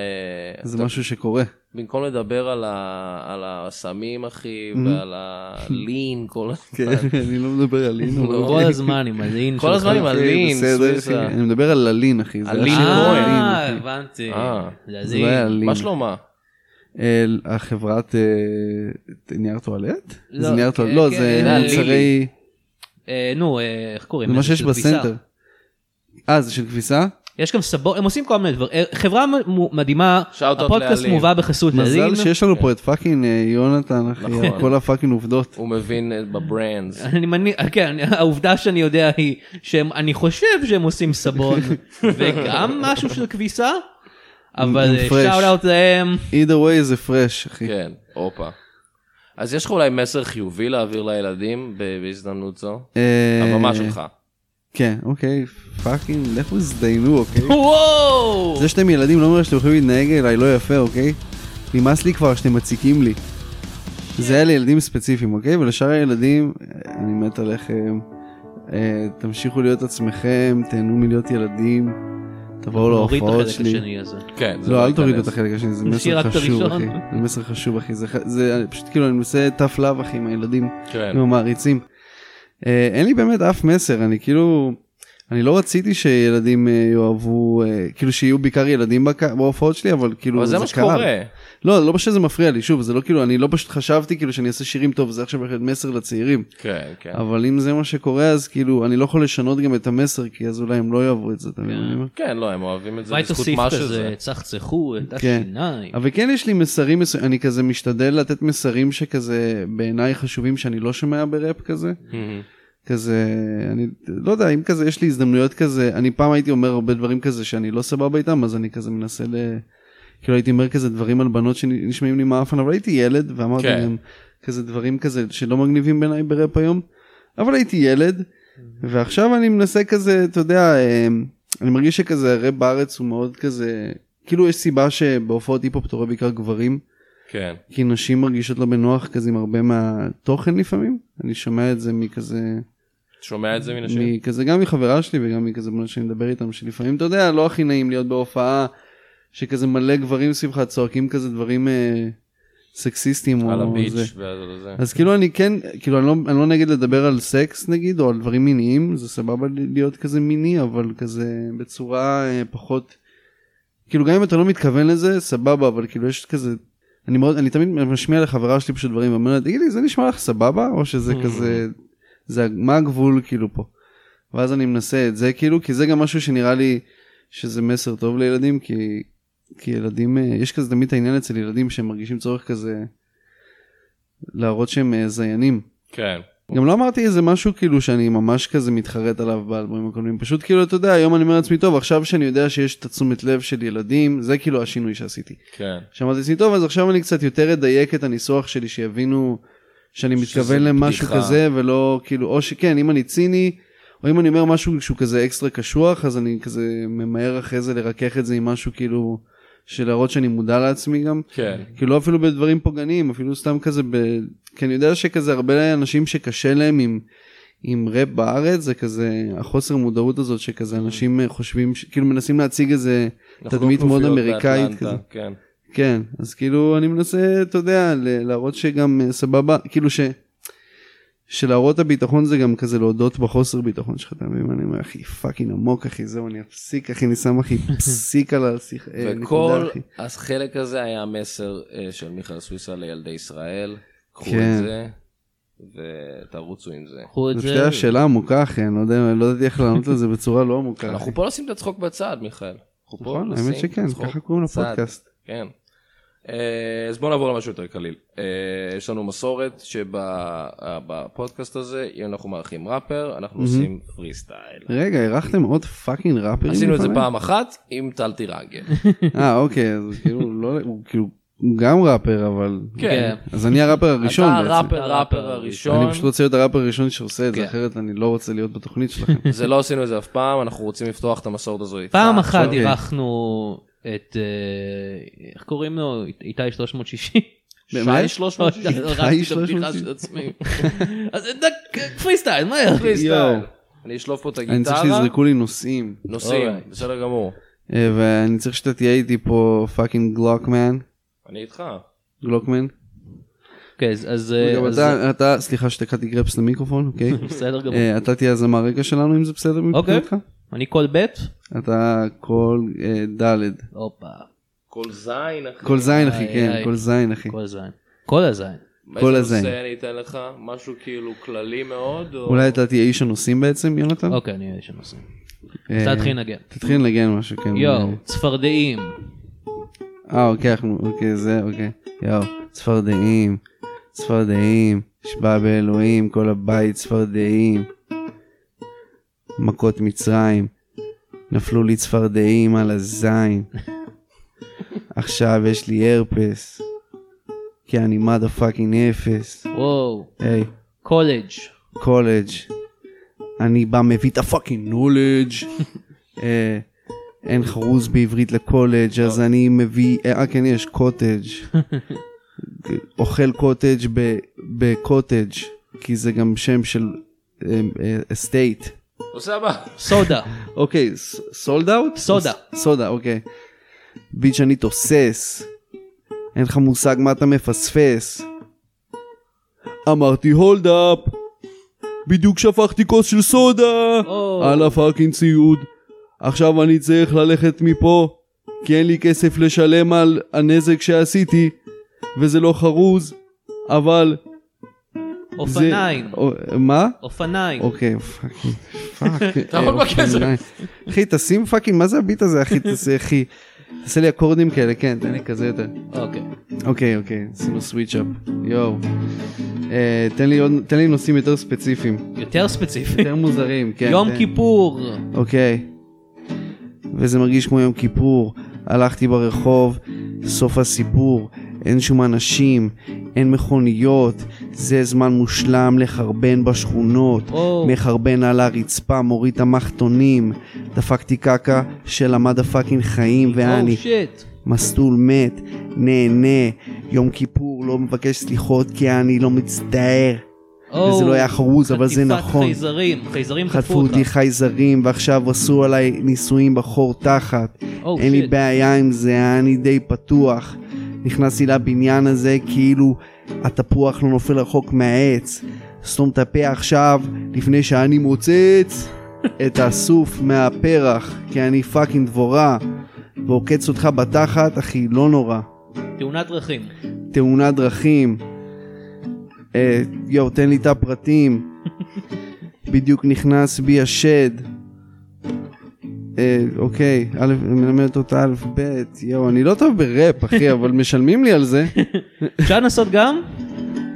זה
אתה-
משהו שקורה.
במקום לדבר על ה- על הסמים, אחי, ועל הלין, כל הזמן.
Mm-hmm. כן, אני לא מדבר על לין. אבל-
כל הזמן עם הלין
כל הזמן עם
אוקיי,
הלין,
בסדר,
סוויסה.
אחי. אני מדבר על הלין, אחי. זה
הלין
השם.
כהן.
אה,
הלין, אחי.
הבנתי.
אה,
זה
זה לא היה
הלין.
לין.
מה שלומה?
אל החברת אה, נייר טואלט?
לא,
זה נייר טואלט,
כן,
לא,
כן,
זה
אה,
מוצרי,
אה, נו, אה, איך קוראים?
זה מה
לזה?
שיש
של כביסה.
בסנטר. אה, זה של כביסה?
יש גם סבון, הם עושים כל מיני דברים. אה, חברה מ- מדהימה,
שאוט-אוט
הפודקאסט
לאלין.
מובא בחסות הלין.
מזל שיש לנו פה את פאקינג אה, יונתן, אחי,
כן. נכון.
על כל הפאקינג עובדות.
הוא מבין אה, בברנדס.
אני מניח, כן, אני- העובדה שאני יודע היא שהם, אני חושב שהם עושים סבון וגם משהו של כביסה, אבל
עם fresh.
שאוט אאוט להם.
either way זה פרש, אחי.
כן, הופה. אז יש לך אולי מסר חיובי להעביר לילדים ב- בהזדמנות זו?
אה,
הבמה שלך.
כן, אוקיי, פאקינג, לכו הזדיינו, אוקיי?
וואו!
זה שאתם ילדים לא אומר שאתם יכולים להתנהג אליי לא יפה, אוקיי? נמאס לי כבר שאתם מציקים לי. זה היה לילדים ספציפיים, אוקיי? ולשאר הילדים, אה, אני מת עליכם. אה, תמשיכו להיות עצמכם, תהנו מלהיות ילדים. תבואו
נוריד את
להופעות
החלק
לא, שלי.
השני הזה.
כן, זה
לא, אל תורידו את
ייכנס.
החלק השני, זה
נשאיר
מסר
רק את
חשוב,
הראשון.
אחי. זה מסר חשוב, אחי. זה ח- זה אני פשוט כאילו, אני מנסה tough love, אחי, עם הילדים.
כן,
עם המעריצים. אה, אין לי באמת אף מסר, אני כאילו, אני לא רציתי שילדים אה, יאהבו, אה, כאילו שיהיו בעיקר ילדים בק- בהופעות שלי, אבל כאילו
אבל זה מה
קרה.
שקורה.
לא, לא שזה מפריע לי, שוב, זה לא כאילו, אני לא פשוט חשבתי כאילו שאני אעשה שירים טוב, זה עכשיו בהחלט מסר לצעירים.
כן, כן.
אבל אם זה מה שקורה, אז כאילו, אני לא יכול לשנות גם את המסר, כי אז אולי הם לא יאהבו את זה, אתה מבין? מה אני אומר?
כן, לא, הם אוהבים את זה
אולי
בזכות
תוסיף
מה
כזה,
שזה.
צחצחו את
כן.
השיניים.
אבל כן יש לי מסרים, מסו- אני כזה משתדל לתת מסרים שכזה בעיניי חשובים שאני לא שומע בראפ כזה.
מהמם.
כזה, אני לא יודע, אם כזה, יש לי הזדמנויות כזה, אני פעם הייתי אומר הרבה דברים כזה שאני לא סבבה איתם, אז אני כזה מנסה ל... כאילו הייתי אומר כזה דברים על בנות שנשמעים לי מעפן, אבל הייתי ילד ואמרתי
כן.
להם כזה דברים כזה שלא מגניבים בעיניי בראפ היום, אבל הייתי ילד, ועכשיו אני מנסה כזה, אתה יודע, אה, אני מרגיש שכזה הראפ בארץ הוא מאוד כזה, כאילו יש סיבה שבהופעות היפ-הופ אתה רואה בעיקר גברים,
כן.
כי נשים מרגישות לא בנוח כזה עם הרבה מהתוכן לפעמים, אני שומע את זה מכזה...
שומע את זה מן השם?
מכזה גם מחברה שלי וגם מכזה בנות שאני מדבר איתם שלפעמים אתה יודע לא הכי נעים להיות בהופעה שכזה מלא גברים סביבך צועקים כזה דברים אה, סקסיסטים
על
או זה.
הביץ' ועל זה.
אז כאילו אני כן כאילו אני לא, אני לא נגד לדבר על סקס נגיד או על דברים מיניים זה סבבה ל- להיות כזה מיני אבל כזה בצורה אה, פחות כאילו גם אם אתה לא מתכוון לזה סבבה אבל כאילו יש כזה. אני מאוד אני תמיד משמיע לחברה שלי פשוט דברים ואומר לה תגיד לי זה נשמע לך סבבה או שזה כזה זה מה הגבול כאילו פה. ואז אני מנסה את זה כאילו כי זה גם משהו שנראה לי שזה מסר טוב לילדים כי כי ילדים אה, יש כזה תמיד את העניין אצל ילדים שהם מרגישים צורך כזה להראות שהם אה, זיינים.
כן.
גם לא אמרתי איזה משהו כאילו שאני ממש כזה מתחרט עליו באלבומים הקודמים פשוט כאילו אתה יודע היום אני אומר לעצמי טוב עכשיו שאני יודע שיש את התשומת לב של ילדים זה כאילו השינוי שעשיתי.
כן.
שאמרתי לעצמי טוב אז עכשיו אני קצת יותר אדייק את הניסוח שלי שיבינו שאני
שזה
מתכוון למשהו
בדיחה.
כזה ולא כאילו או שכן אם אני ציני או אם אני אומר משהו שהוא כזה אקסטרה קשוח אז אני כזה ממהר אחרי זה לרכך את זה עם משהו כאילו של להראות שאני מודע לעצמי גם.
כן.
כאילו אפילו בדברים פוגעניים אפילו סתם כזה ב... כי אני יודע שכזה הרבה אנשים שקשה להם עם, עם ראפ בארץ זה כזה החוסר מודעות הזאת שכזה אנשים אה, חושבים ש... כאילו מנסים להציג איזה
אנחנו
תדמית
לא
מאוד
כנופיות
אמריקאית
באטלנטה,
כזה.
כן.
כן אז כאילו אני מנסה אתה יודע ל- להראות שגם אה, סבבה כאילו ש... שלהראות הביטחון זה גם כזה להודות בחוסר ביטחון שלך אתה מבין מה אני אומר אחי פאקינג עמוק אחי זהו אני אפסיק אחי אני שם אחי פסיק על השיחה. אה,
וכל
נקודה, אחי.
החלק הזה היה המסר אה, של מיכאל סוויסה לילדי ישראל. קחו
כן.
את זה ותרוצו עם זה.
קחו את
זו
זה.
פשוט שאלה עמוקה אחי, אני לא יודע, לא ידעתי איך לענות לזה בצורה לא עמוקה.
אנחנו
אחי.
פה נשים את הצחוק בצד, מיכאל. אנחנו פה
נכון,
נשים
האמת שכן,
צחוק
ככה קוראים
בצד.
לפודקאסט.
כן. אה, אז בואו נעבור למשהו יותר קליל. אה, יש לנו מסורת שבפודקאסט הזה, אם אנחנו מארחים ראפר, אנחנו עושים פרי סטייל.
רגע, אירחתם עוד פאקינג ראפרים?
עשינו את זה
לפניי?
פעם אחת עם טל טירנגל.
אה, אוקיי, אז כאילו, לא, הוא כאילו, הוא גם ראפר, אבל...
כן.
אז אני הראפר הראשון
אתה
בעצם.
הראפר ראפר הראשון.
אני פשוט רוצה להיות הראפר הראשון שעושה את זה,
כן.
אחרת אני לא רוצה להיות בתוכנית שלכם.
זה לא עשינו את זה אף פעם, אנחנו רוצים לפתוח את המסורת הזו איתך.
פעם אחת
אה, אוקיי.
אירחנו את, אה, איך קוראים לו? איתי 360.
באמת?
שי 360.
הרסתי את הבדיחה
360.
של עצמי. אז אה, דק- פרי סטייל, מהר.
פרי סטייל.
יואו.
אני אשלוף פה את
אני צריך
הגיטרה,
שיזרקו לי נושאים.
נוסעים,
אוקיי.
בסדר גמור.
אה, ואני צריך שאתה תהיה איתי פה פאקינג גלוקמן.
אני איתך.
גלוקמן.
אוקיי, אז- אז...
רגע,
אה,
אבל
אז-
אתה- אתה, סליחה שתקעתי גרפס למיקרופון, אוקיי?
בסדר גמור.
אה, אתה תהיה הזמר רקע שלנו אם זה בסדר
אוקיי.
מבחינתך?
אני כל ב'?
אתה קול אה, ד',
הופה.
כל זין, אחי.
קול זין אחי,
איי,
כן,
איי.
קול זין אחי.
כל הזין. כל הזין.
באיזה
הזין.
נושא אני אתן לך? משהו כאילו כללי מאוד? או-
אולי אתה תהיה איש הנושאים בעצם, יונתן?
אוקיי, אני אהיה שם עושה.
אה,
אז תתחיל לנגן.
תתחיל לנגן משהו, כן.
יואו, צפרדעים.
אה, אוקיי, אנחנו, אוקיי, זה, אוקיי. יואו, צפרדעים, צפרדעים, נשבע באלוהים, כל הבית צפרדעים. מכות מצרים, נפלו לי צפרדעים על הזין. עכשיו יש לי הרפס, כי אני מדה פאקינג אפס.
וואו.
היי,
קולג'.
קולג', אני בא מביא את הפאקינג נולג'. אה, אין חרוז בעברית לקולג', אז אני מביא, אה כן יש קוטג'. אוכל קוטג' ב- בקוטג', כי זה גם שם של אה, אסטייט.
אוסאמה.
סודה.
אוקיי, סולד אאוט?
סודה.
סודה, אוקיי. ביץ' אני תוסס. אין לך מושג מה אתה מפספס. אמרתי הולד אפ. בדיוק שפכתי כוס של סודה.
או.
על הפאקינג ציוד. עכשיו אני צריך ללכת מפה. כי אין לי כסף לשלם על הנזק שעשיתי. וזה לא חרוז. אבל... זה-
אופניים.
או- מה?
אופניים.
אוקיי, פאקינג, פאק.
תעמוד
אה,
בכסף.
אופניים. אחי, תשים פאקינג, מה זה הביט הזה, אחי? תעשה, אחי. תעשה לי אקורדים כאלה, כן, תן לי כזה יותר.
אוקיי.
אוקיי, אוקיי, עשינו סוויץ'-אפ. יואו. אה, תן לי עוד- תן לי נושאים יותר ספציפיים.
יותר ספציפי.
יותר מוזרים, כן.
יום
תן.
כיפור.
אוקיי. וזה מרגיש כמו יום כיפור. הלכתי ברחוב, סוף הסיפור. אין שום אנשים, אין מכוניות. זה זמן מושלם לחרבן בשכונות.
או.
מחרבן על הרצפה, מוריד את המחטונים, דפקתי קקה של המדה פאקינג חיים, ואני
או שיט.
מסלול מת, נהנה, יום כיפור, לא מבקש סליחות כי אני לא מצטער,
או.
וזה לא היה חרוז, אבל זה
חטיפת
נכון.
חייזרים. חייזרים
חטפו
חטפו אותך.
אותי חייזרים, ועכשיו עשו עליי ניסויים בחור תחת.
או,
אין לי
שיט.
בעיה עם זה, היה אני די פתוח. נכנסתי לבניין הזה כאילו התפוח לא נופל רחוק מהעץ. סתום את הפה עכשיו, לפני שאני מוצץ את הסוף מהפרח, כי אני פאקינג דבורה, ועוקץ אותך בתחת, אחי, לא נורא.
תאונת דרכים.
תאונת דרכים. אה, יואו, תן לי את הפרטים. בדיוק נכנס בי השד. אה, אוקיי, א', מלמדת אותה א', ב', יואו, אני לא טוב בראפ, אחי, אבל משלמים לי על זה.
אפשר לנסות גם?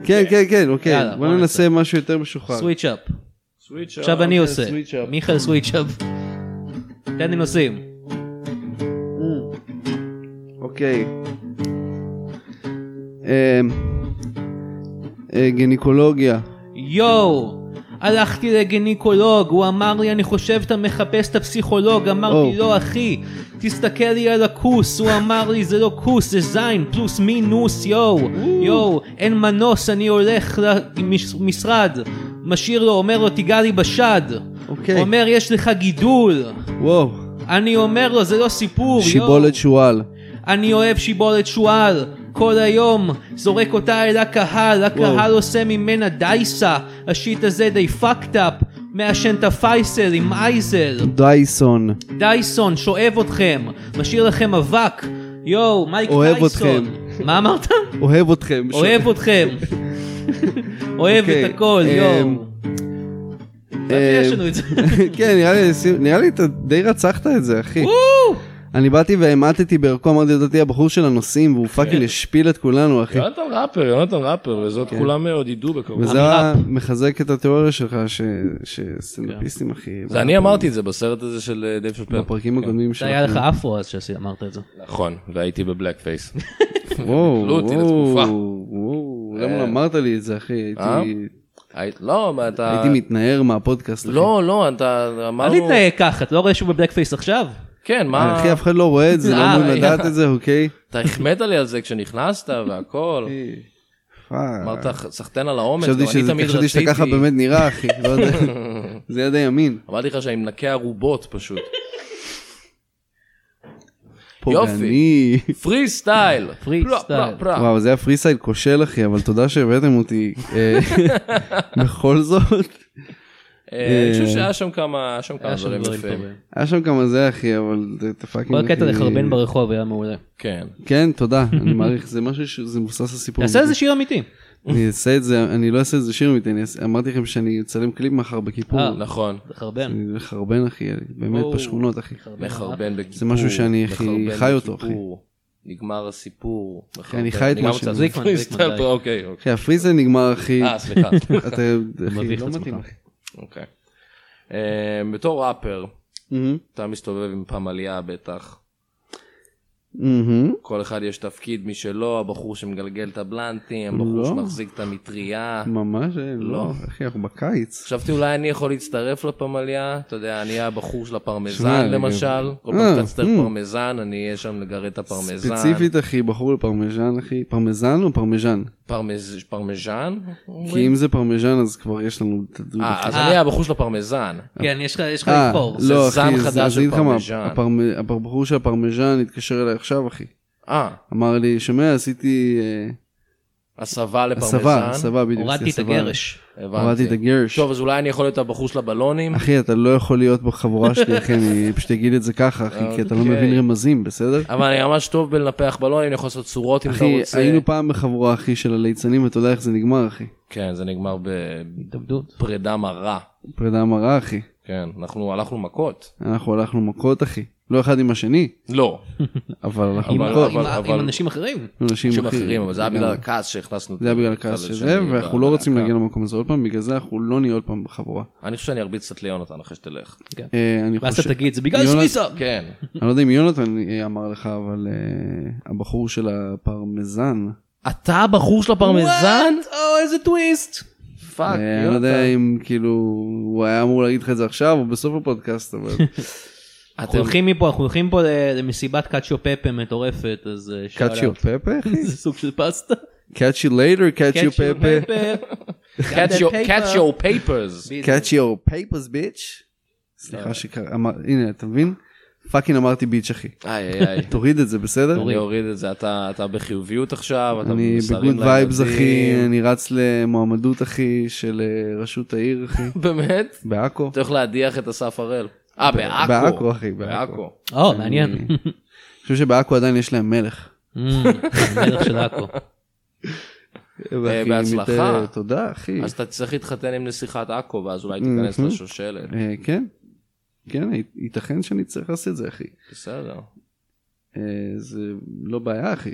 כן, כן, כן, אוקיי.
יאללה,
בוא
בוא
ננסה משהו יותר משוחרר.
סוויץ'-אפ.
סוויץ' אה?
עכשיו אני עושה.
סוויץ'-אפ.
מיכאל סוויץ'-אפ. תן לי נושאים.
אוקיי. אה, אה, גינקולוגיה.
יואו, הלכתי לגינקולוג, הוא אמר לי אני חושב אתה מחפש את הפסיכולוג, אמרתי
או.
לא אחי, תסתכל לי על הכוס, הוא אמר לי זה לא כוס, זה זין, פלוס מינוס, יואו, יואו, אין מנוס, אני הולך למשרד, משאיר לו, אומר לו תיגע לי בשד,
אוקיי.
אומר יש לך גידול,
וואו.
אני אומר לו זה לא סיפור, יואו.
שיבולת שועל.
אני אוהב שיבולת שועל, כל היום זורק אותה אל הקהל, הקהל
וואו.
עושה ממנה דייסה, השיט הזה די fucked up, מעשן את הפייסל עם אייזל,
דייסון.
דייסון שואב אתכם, משאיר לכם אבק, יואו, מייק
אוהב
דייסון,
אתכם.
מה אמרת?
אוהב אתכם.
אוהב אתכם, אוהב
אוקיי,
את הכל,
אמ,
יואו. יש לנו את זה.
כן, נראה לי, נראה לי אתה די רצחת את זה, אחי.
וואו!
אני באתי והמטתי בערכו, אמרתי, אתה תהיה הבחור של הנוסעים, והוא
כן.
פאקינג השפיל את כולנו, אחי.
יונתן ראפר, יונתן ראפר, וזאת כולם עוד ידעו בקרוב.
אוקיי. כן. וזה
אמירה.
מחזק את התיאוריה שלך, ש- שסטנדאפיסטים, אחי.
כן. זה אני אמרתי את זה בסרט הזה של אה, דייב שפר.
בפרקים
זה
הקודמים שלך.
היה לך אפרו אז שאמרת את זה.
נכון, והייתי בבלק פייס.
וואו,
קיבלו אותי
וואו,
לתקופה.
וואו, למה לא אמרת לי את זה, אחי? הייתי-
אה? היית- לא, מה אתה...
הייתי מתנער מהפודקאסט, אחי.
לא, לא, אתה
אל
אמרנו...
תתנהג ככה, אתה לא רואה שהוא בבלק פייס עכשיו?
כן, מה...
אחי, אף אחד לא רואה את זה, לא
אה,
אמור
אה,
לדעת את זה, אוקיי?
אתה החמאת לי על זה כשנכנסת והכל.
פאק.
אמרת, סחטיין על האומץ, גם
חשבתי
אני
שזה-
תמיד
חשבתי שאתה ככה
רציתי.
באמת נראה, אחי, לא יודע. זה יד הימין.
אמרתי לך שאני מנקה ערובות פשוט.
פוגעני.
פרי סטייל.
Free
פרה, פרה,
style.
פרה.
וואו, זה היה פרי סייד כושל, אחי, אבל תודה שהבאתם אותי. אה, בכל זאת,
אה, אני חושב שהיה שם כמה היה שם כמה
היה שם
דברים
דברים
יפים.
טובים.
היה שם כמה זה, אחי, אבל זה- אתה פאקינג...
כל הקטע
אחי.
לחרבן ברחוב היה מעולה.
כן.
כן, תודה, אני מעריך, זה משהו שזה מבוסס על סיפור.
תעשה איזה שיר אמיתי.
אני אעשה את זה, אני לא אעשה את זה שיר אמיתי, אני אעשה- אמרתי לכם שאני אצלם קליפ מחר בכיפור.
אה,
נכון.
לחרבן.
אני לחרבן, אחי, אני באמת
או.
בשכונות, אחי.
מחרבן בגיבור.
זה משהו שאני הכי
מחרבן
חי אותו,
בגיבור, נגמר הסיפור. מחרבן.
אני חי את
גם
מה
רוצה-
שאני-
זיקמן,
פרי
זיקמן,
סטייל,
די.
פה, אוקיי, אוקיי.
אחי, הפרי סייד נגמר, אחי.
אה, סליחה.
אתה, אחי,
מביך
לא
את עצמך.
מתאים, אחי.
אוקיי. אה, בתור ראפר,
מהמם,
אתה מסתובב עם פמליה בטח.
מהמם.
כל אחד יש תפקיד משלו, הבחור שמגלגל את הבלנטים, הבחור
לא.
שמחזיק את המטריה.
ממש, אה, לא,
לא.
אחי, אנחנו בקיץ.
חשבתי אולי אני יכול להצטרף לפמליה, אתה יודע, אני אהיה הבחור של
שמע,
הפרמזן
אני
למשל,
גם-
כל
אה,
פעם שאתה תצטרך
אה.
פרמזן, אני אהיה שם לגרד את הפרמזן.
ספציפית, אחי, בחור לפרמיז'ן, אחי. פרמיזן או פרמיז'ן?
פרמז- פרמז'ן?
כי
אומרים?
אם זה פרמיז'ן, אז כבר יש לנו את הדוד.
אה,
אחי.
אז אני אהיה הבחור של הפרמזן.
כן, יש לך יש לך
אה,
לבחור.
זה
לא,
זן
אחי,
חדש
אז
של
אני אגיד לך מה,
פרמיז'ן.
הפרמ- הבחור של הפרמיז'ן התקשר אליי עכשיו, אחי.
אה,
אמר לי, שומע, עשיתי אה,
הסבה
הסבה,
לפרמזן.
הסבה בדיוק.
הורדתי את
עשיתי הסבה.
הגרש.
הבנתי.
הורדתי את הגרש.
טוב, אז אולי אני יכול להיות הבחור של הבלונים?
אחי, אתה לא יכול להיות בחבורה שלי, אחי, אני פשוט אגיד את זה ככה, אחי, כי אתה לא
אוקיי.
מבין רמזים, בסדר?
אבל אני ממש טוב בלנפח בלונים, אני יכול לעשות צורות אם אתה
אחי,
רוצה.
היינו פעם בחבורה, אחי, של הליצנים, ואתה יודע איך זה נגמר, אחי.
כן, זה נגמר בפרידה
התאבדות.
מרה.
פרידה מרה, אחי.
כן, אנחנו הלכנו מכות.
אנחנו הלכנו מכות, אחי. לא אחד עם השני,
לא,
אבל הלכנו
עם-
אבל-
מכות.
אבל-
עם- עם אנשים אחרים.
אנשים
אנשים
אחרים.
אחרים, אבל זה היה בגלל
לגמרי.
הכעס שהכנסנו.
זה היה בגלל
אחד
הכעס של
לשני
זה, ואנחנו לא רוצים
בלהקה.
להגיע למקום הזה עוד פעם, בגלל זה אנחנו לא נהיה עוד פעם בחבורה.
אני חושב שאני ארביץ קצת ליונתן אחרי שתלך.
אה, אני
ואז אתה
חושב...
תגיד, זה בגלל
יונס-
סוויסה.
כן.
אני לא יודע אם יונתן אה, אמר לך, אבל אה, הבחור של הפרמזן,
אתה הבחור של הפרמזן?
וואט? או, איזה טוויסט.
פאק,
אה, אני לא יודע אם כאילו הוא היה אמור להגיד לך את זה עכשיו או בסוף הפודקאסט, אבל
אתם-
אנחנו הולכים מפה, אנחנו הולכים פה ל- למסיבת קאצ'יו פפה מטורפת, אז אה, שאלה.
קאצ'יו פפה?
זה סוג של פסטה.
קאצ'י לייטר, קאצ'יו פפה,
catch your- catch your papers.
קאצ'יו פייפרס ביץ'.
לא.
סליחה שקרה, אמר- הנה אתה מבין? פאקינג אמרתי ביץ' אחי.
איי איי איי.
אה, תוריד את זה בסדר?
אני אוריד את זה, אתה אתה בחיוביות עכשיו, אתה
אני
במסרים
בגוד וייבס
לילדים.
אחי, אני רץ למועמדות אחי של אה, ראשות העיר אחי,
באמת?
בעכו.
אתה הולך להדיח את אסף הראל. אה, בעכו.
בעכו, אחי, בעכו.
או, Oh, מעניין. Mm,
אני חושב שבעכו עדיין יש להם מלך.
המלך של עכו.
ואחי,
בהצלחה.
מת- תודה אחי.
אז אתה צריך להתחתן עם נסיכת עכו, ואז אולי תיכנס
Mhm.
לשושלת.
אה, כן, כן, י- ייתכן שאני צריך לעשות את זה, אחי.
בסדר.
אה, זה לא בעיה, אחי.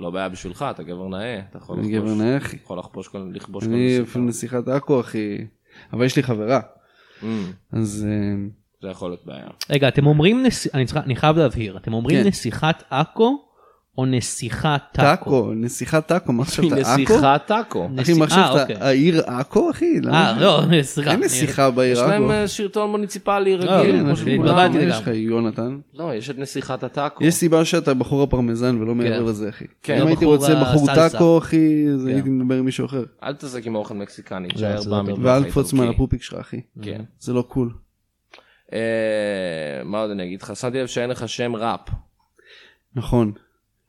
לא בעיה בשבילך, אתה גבר נאה. אתה יכול
אני
לחבוש-
גבר נאה, אחי.
יכול לחבוש כל- לכבוש כל
אני
נסיכה.
אפילו נסיכת עכו, אחי. אבל יש לי חברה,
Mm,
אז אה,
זה יכול להיות בעיה.
רגע, אתם אומרים, נס- אני צריך- אני חייב להבהיר, אתם אומרים
כן.
נסיכת עכו או נסיכת טאקו?
טאקו, נסיכת טאקו, מה חשבת, עכו?
נסיכת עכו.
אחי, מה
נסיך- אה,
חשבת,
אוקיי.
העיר עכו, אחי?
אה,
למה?
לא, סליחה.
אין
אני-
נסיכה
יש
בעיר
להם
עכו.
אה, שלטון מוניציפלי
אה,
רגיל,
כן,
כמו
אחי,
שכולם.
התבלבלתי
מה יש
לגמרי.
לך, יונתן?
לא, יש את נסיכת הטאקו.
יש סיבה שאתה בחור הפרמזן ולא
כן.
מעבר לזה, אחי.
כן,
אם הייתי
הבחור
רוצה בחור
הסלסה.
טאקו, אחי, אז
כן.
הייתי מדבר עם מישהו אחר.
אל תתעסק עם האוכל מקסיקני, תשאר
זה לא
במטבח
טוב.
ואל תקפוץ
האיטלקי.
מהפופיק שלך, אחי.
כן.
זה לא קול.
אה, מה עוד אני אגיד לך? שמתי לב שאין לך שם ראפ.
נכון.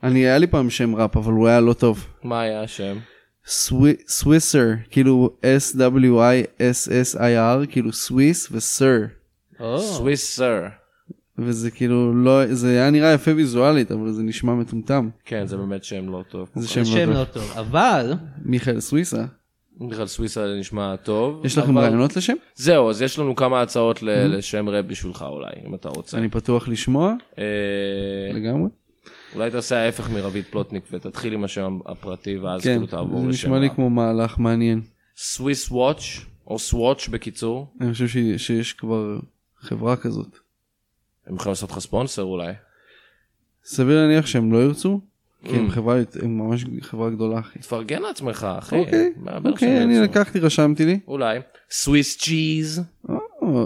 אני, היה לי פעם שם ראפ, אבל הוא היה לא טוב.
מה היה השם?
סווי- סוויסר, כאילו S-W-I-S-S-I-R, כאילו סוויס וסר.
או,
סוויס סר.
וזה כאילו לא, זה היה נראה יפה ויזואלית, אבל זה נשמע מטומטם.
כן, זה באמת שם לא טוב.
זה
זה
שם
שם
לא
לא
טוב.
טוב, אבל
מיכאל סוויסה.
בכלל סוויסה זה נשמע טוב.
יש Mm-hmm. לכם
אבל-
רעיונות לשם?
זהו, אז יש לנו כמה הצעות ל- לשם ראפ בשבילך אולי, אם אתה רוצה.
אני פתוח לשמוע
אה,
לגמרי.
אולי תעשה ההפך מרביד פלוטניק ותתחיל עם השם הפרטי ואז
כן,
כאילו תעבור
זה
לשם
נשמע לי
ראפ.
כמו מהלך מעניין.
סוויס וואץ' או סוואץ' בקיצור.
אני חושב ש- שיש כבר חברה כזאת.
הם יכולים לעשות לך ספונסר אולי.
סביר להניח שהם לא ירצו, כי הם
Mm.
חברה, הם ממש חברה גדולה, אחי.
תפרגן לעצמך אחי.
אוקיי,
כן, מה הבעיה
אוקיי,
שהם
אני
ירצו?
לקחתי, רשמתי לי.
אולי. סוויס צ'יז.
אה,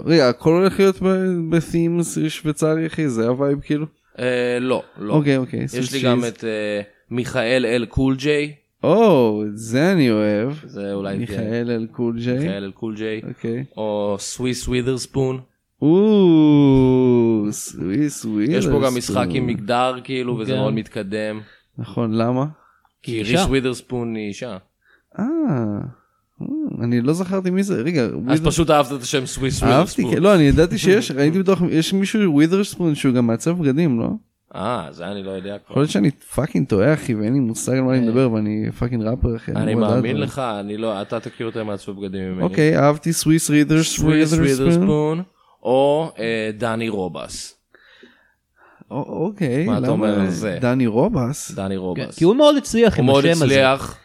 רגע, הכל הולך להיות ב- בת'ימס שוויצרי אחי, זה הווייב כאילו?
אה, לא, לא.
אוקיי, אוקיי.
יש
סוס
לי גם
צ'יז.
את אה, מיכאל אל קול ג'יי,
אוקיי. או, את Oh, זה אני אוהב.
זה אולי מיכאל
מיכאל אל קול ג'יי.
אל קול ג'יי,
אוקיי.
או סוויס ווית'רספון.
או, סוויס וויל.
יש פה גם משחק עם מגדר כאילו, וזה
כן.
מאוד מתקדם.
נכון, למה?
כי
אישה. כן,
ריס ווית'רספון היא אישה.
אה, אה, אני לא זכרתי מי זה. רגע,
אז
ווית'ר-
פשוט אהבת את השם סוויס
אהבתי,
ווית'רספון.
כן, לא, אני ידעתי שיש, ראיתי בתוך, יש מישהו ווית'רספון שהוא גם מעצב בגדים, לא?
אה, זה אני לא יודע כבר.
יכול להיות שאני פאקינג טועה אחי ואין לי מוסג על מה אני מדבר ואני פאקינג ראפר אחי.
אה. אני
אמור לדעת
מאמין
אבל-
לך, אני לא, אתה תכיר יותר מעצבי בגדים ממני.
אוקיי, אהבתי סוויס רידר
סוויס
סווית'רספון.
ווית'רספון, או אה, דני רובס.
אוקיי,
מה אתה
למה-
אומר על זה?
דני רובס.
דני רובס.
כן, כי הוא מאוד הצליח
הוא
עם
מאוד
השם הזה.
הצליח.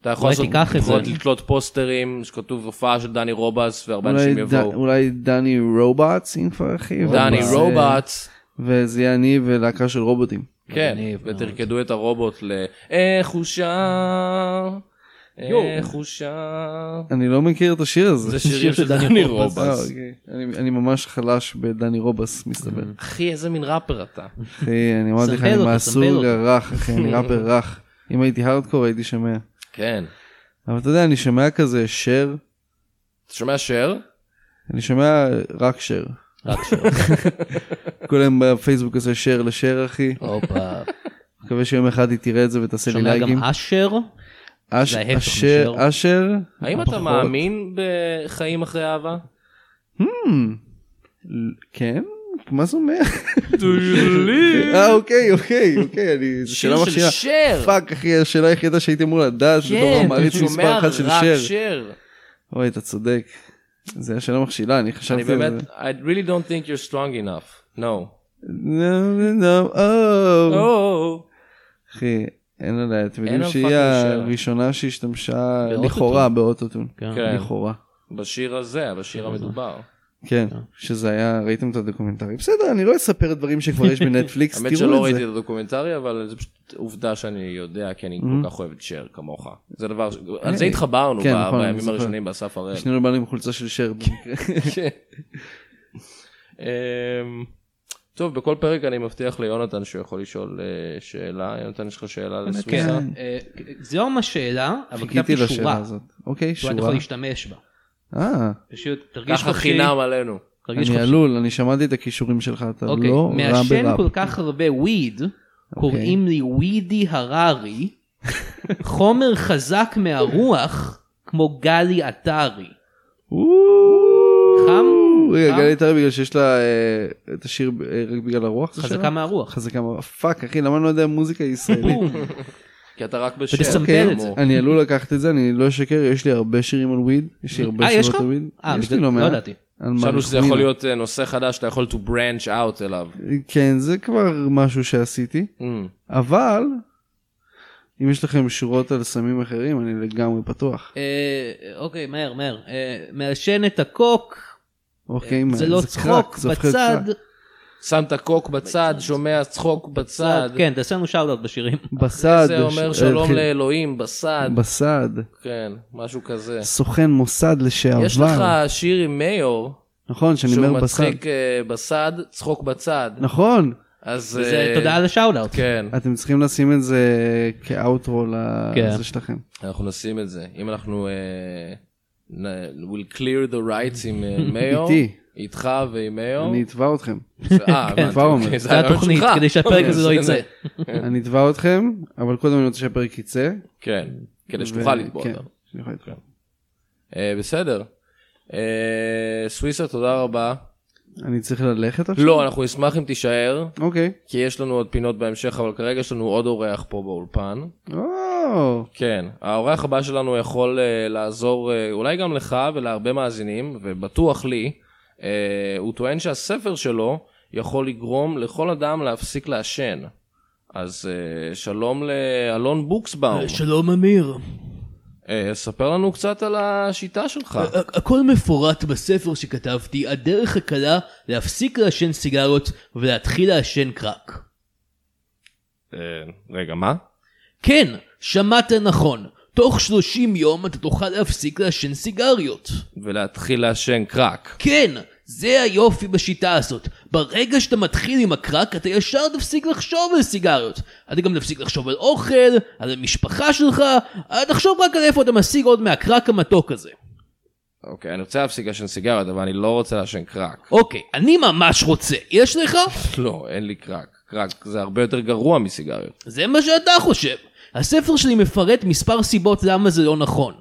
אתה יכול
אולי
לעשות,
תיקח את
יכול
זה.
לתלות פוסטרים שכתוב הופעה של דני רובס והרבה
אולי
אנשים
ד-
יבואו.
אולי דני רובוטס אם כבר אחי.
דני
ואז,
רובוטס,
אה, וזה יהיה אני ולהקה של רובוטים.
כן,
מגניב מאוד.
ותרקדו את הרובוט ל... איך הוא שר,
יואו.
איך הוא שר.
אני לא מכיר את השיר הזה.
זה שירים של דני
דני
אה,
רובס.
אוקיי. אני- אני ממש חלש בדני רובס מסתבר.
אחי, איזה מין ראפר אתה.
אחי, אני אמרתי לך,
סמבל
אני
אותו, סמבל
מהסוג
אותו.
הרך, אחי, אני ראפר רך. אם הייתי הארדקור הייתי שומע.
כן.
אבל אתה יודע, אני שומע כזה שר,
אתה שומע שר?
אני שומע רק שר.
רק שר.
כל היום בפייסבוק עושה שר לשר, אחי.
הופה.
מקווה שיום אחד היא תראה את זה ותעשה לי
שומע
לייקים.
גם אשר?
אש-
זה ההפך
אשר,
משר.
אשר,
האם אתה
פחות.
מאמין בחיים אחרי אהבה?
Hmm. ל- כן? מה זה אומר? אה, אוקיי, אוקיי, אוקיי, אני... זו שאלה
שיר של
מכשירה.
שר.
פאק, אחי, השאלה היחידה שהייתי אמור לדעת, זה דור
כן,
המעריץ
אתה שומע
מספר אחת של
רק
שר.
שר.
אוי, אתה צודק. זה היה שאלה מכשילה, אני
אני
חשבתי על
באמת,
זה.
I really don't think you're strong enough. No.
נו, נו, נו, או.
Oh.
אחי, אין עליה, אתם יודעים
אין על
שהיא
פאקינג
הראשונה שהשתמשה
באוטוטון.
לכאורה באוטוטון.
כן.
כן.
לכאורה.
בשיר הזה, בשיר המדובר.
כן, שזה היה, ראיתם את הדוקומנטרי? בסדר, אני לא אספר דברים שכבר יש בנטפליקס,
האמת שלא
תראו את
ראיתי
זה.
את הדוקומנטרי, אבל זה פשוט עובדה שאני יודע, כי אני כל כך אוהב את שר כמוך. זה דבר, ש- על זה התחברנו
Mm-hmm. כן,
ב-
נכון, אני
בימים
זוכר.
הראשונים באסף הראל.
שנינו באנו עם חולצה של שר במקרה.
כן. אמ, טוב, בכל פרק אני מבטיח ליונתן שהוא יכול לשאול אה, שאלה. יונתן, יש לך שאלה
כן.
לסוויסה?
אה, זו לא ממש שאלה, אבל
חיכיתי
כתבתי
לשאלה
שורה.
הזאת. אוקיי,
שאתה יכול
שורה.
להשתמש בה.
אה,
פשוט תרגיש
ככה
חופשי.
חינם עלינו.
תרגיש
אני
חופשי.
עלול, אני שמעתי את הכישורים שלך, אתה
אוקיי,
לא רע אוקיי.
מעשן כל
ברע.
כך הרבה וויד, קוראים לי ווידי הררי, חומר חזק מהרוח, כמו גלי עטרי. חם?
רגע,
חם?
גלי יותר בגלל שיש לה אה, את השיר אה, רק בגלל הרוח? זה
חזקה
שלה?
מהרוח.
חזקה מה... פאק, אחי, למה אני לא יודע מוזיקה ישראלית?
בום.
כי אתה רק בשם.
ותסמפל
אוקיי,
כן,
את זה.
אני עלול לקחת את זה, אני לא אשקר, יש לי הרבה שירים על וויד, יש לי הרבה
אה, יש
שירות
לך?
על וויד.
אה,
יש
בגלל-
לי לא
לא
מעט.
ידעתי.
על
חשבנו שזה
מריחואנה.
יכול להיות אה, נושא חדש שאתה יכול to branch out אליו.
כן, זה כבר משהו שעשיתי,
אמ.
אבל אם יש לכם שורות על סמים אחרים, אני לגמרי פתוח.
אה, אוקיי, מהר, מהר. אה, מעשן את הקוק,
אוקיי, מה-
זה לא
קרק,
צחוק
זה הופך להיות
בצד.
קרק.
שם את הקוק בצד, שומע צחוק בצד.
כן, תעשה לנו שאוט בשירים.
בסד.
זה אומר
ש-
שלום
אה,
לאלוהים בסד,
בסד,
כן, משהו כזה.
סוכן מוסד לשעבר.
יש לך שיר עם מאיור,
נכון, שאני
שהוא
אומר בסד.
מצחיק אה, בסד, צחוק בצד.
נכון,
אז...
זה
אה,
תודה על השאוט
כן,
אתם צריכים לשים את זה כאוטרו
כן.
לזה שלכם.
אנחנו נשים את זה. אם אנחנו... אה, נ- we'll clear the rights עם אה, מאיור.
איתי.
איתך ועם מאיור.
אני אתבע אתכם.
אה, הבנתי,
כבר אומר.
אוקיי,
זה
הרעיון
התוכנית,
שלך.
כדי שהפרק הזה לא
בסדר.
יצא.
אני אתבע אתכם, אבל קודם אני רוצה שהפרק יצא.
כן, כדי
ו-
שתוכל לתבוע
כן,
אותנו.
שאני יכול לתבוע.
אה, בסדר. אה, סוויסה, תודה רבה.
אני צריך ללכת עכשיו?
לא, אנחנו נשמח אם תישאר,
אוקיי.
כי יש לנו עוד פינות בהמשך, אבל כרגע יש לנו עוד אורח פה באולפן.
או,
כן, האורח הבא שלנו יכול uh, לעזור uh, אולי גם לך ולהרבה מאזינים, ובטוח לי, uh, הוא טוען שהספר שלו יכול לגרום לכל אדם להפסיק לעשן. אז uh, שלום לאלון בוקסבאום,
שלום אמיר.
uh, ספר לנו קצת על השיטה
אה.
שלך.
הכ- הכל מפורט בספר שכתבתי, הדרך הקלה להפסיק לעשן סיגריות ולהתחיל לעשן קרק.
אה, רגע, מה?
כן, שמעת נכון. תוך 30 יום אתה תוכל להפסיק לעשן סיגריות.
ולהתחיל לעשן קרק.
כן, זה היופי בשיטה הזאת. ברגע שאתה מתחיל עם הקרק, אתה ישר תפסיק לחשוב על סיגריות. אתה גם תפסיק לחשוב על אוכל, על המשפחה שלך, אה, תחשוב רק על איפה אתה משיג עוד מהקרק המתוק הזה.
אוקיי, אני רוצה להפסיק לעשן סיגריות, אבל אני לא רוצה לעשן קרק.
אוקיי, אני ממש רוצה. יש לך?
לא, אין לי קרק. קרק זה הרבה יותר גרוע מסיגריות.
זה מה שאתה חושב. הספר שלי מפרט מספר סיבות למה זה לא נכון.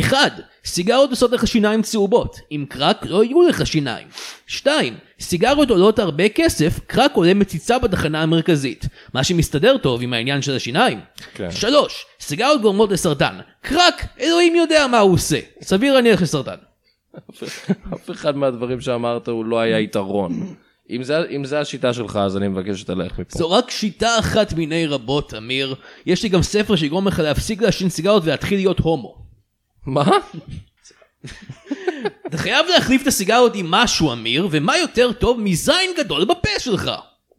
1. סיגריות עושות לך שיניים צהובות, עם קרק לא יהיו לך שיניים. 2. סיגריות עולות הרבה כסף, קרק עולה מציצה בתחנה המרכזית, מה שמסתדר טוב עם העניין של השיניים.
כן.
3. סיגריות גורמות לסרטן, קרק, אלוהים יודע מה הוא עושה, סביר להניח לסרטן.
אף אחד מהדברים שאמרת הוא לא היה יתרון. אם זה- אם זה השיטה שלך, אז אני מבקש שתלך מפה.
זו רק שיטה אחת מיני רבות, אמיר. יש לי גם ספר שיגרום לך להפסיק לעשן סיגריות ולהתחיל להיות הומו.
מה?
אתה חייב להחליף את הסיגריות עם משהו, אמיר, ומה יותר טוב מזין גדול בפה שלך?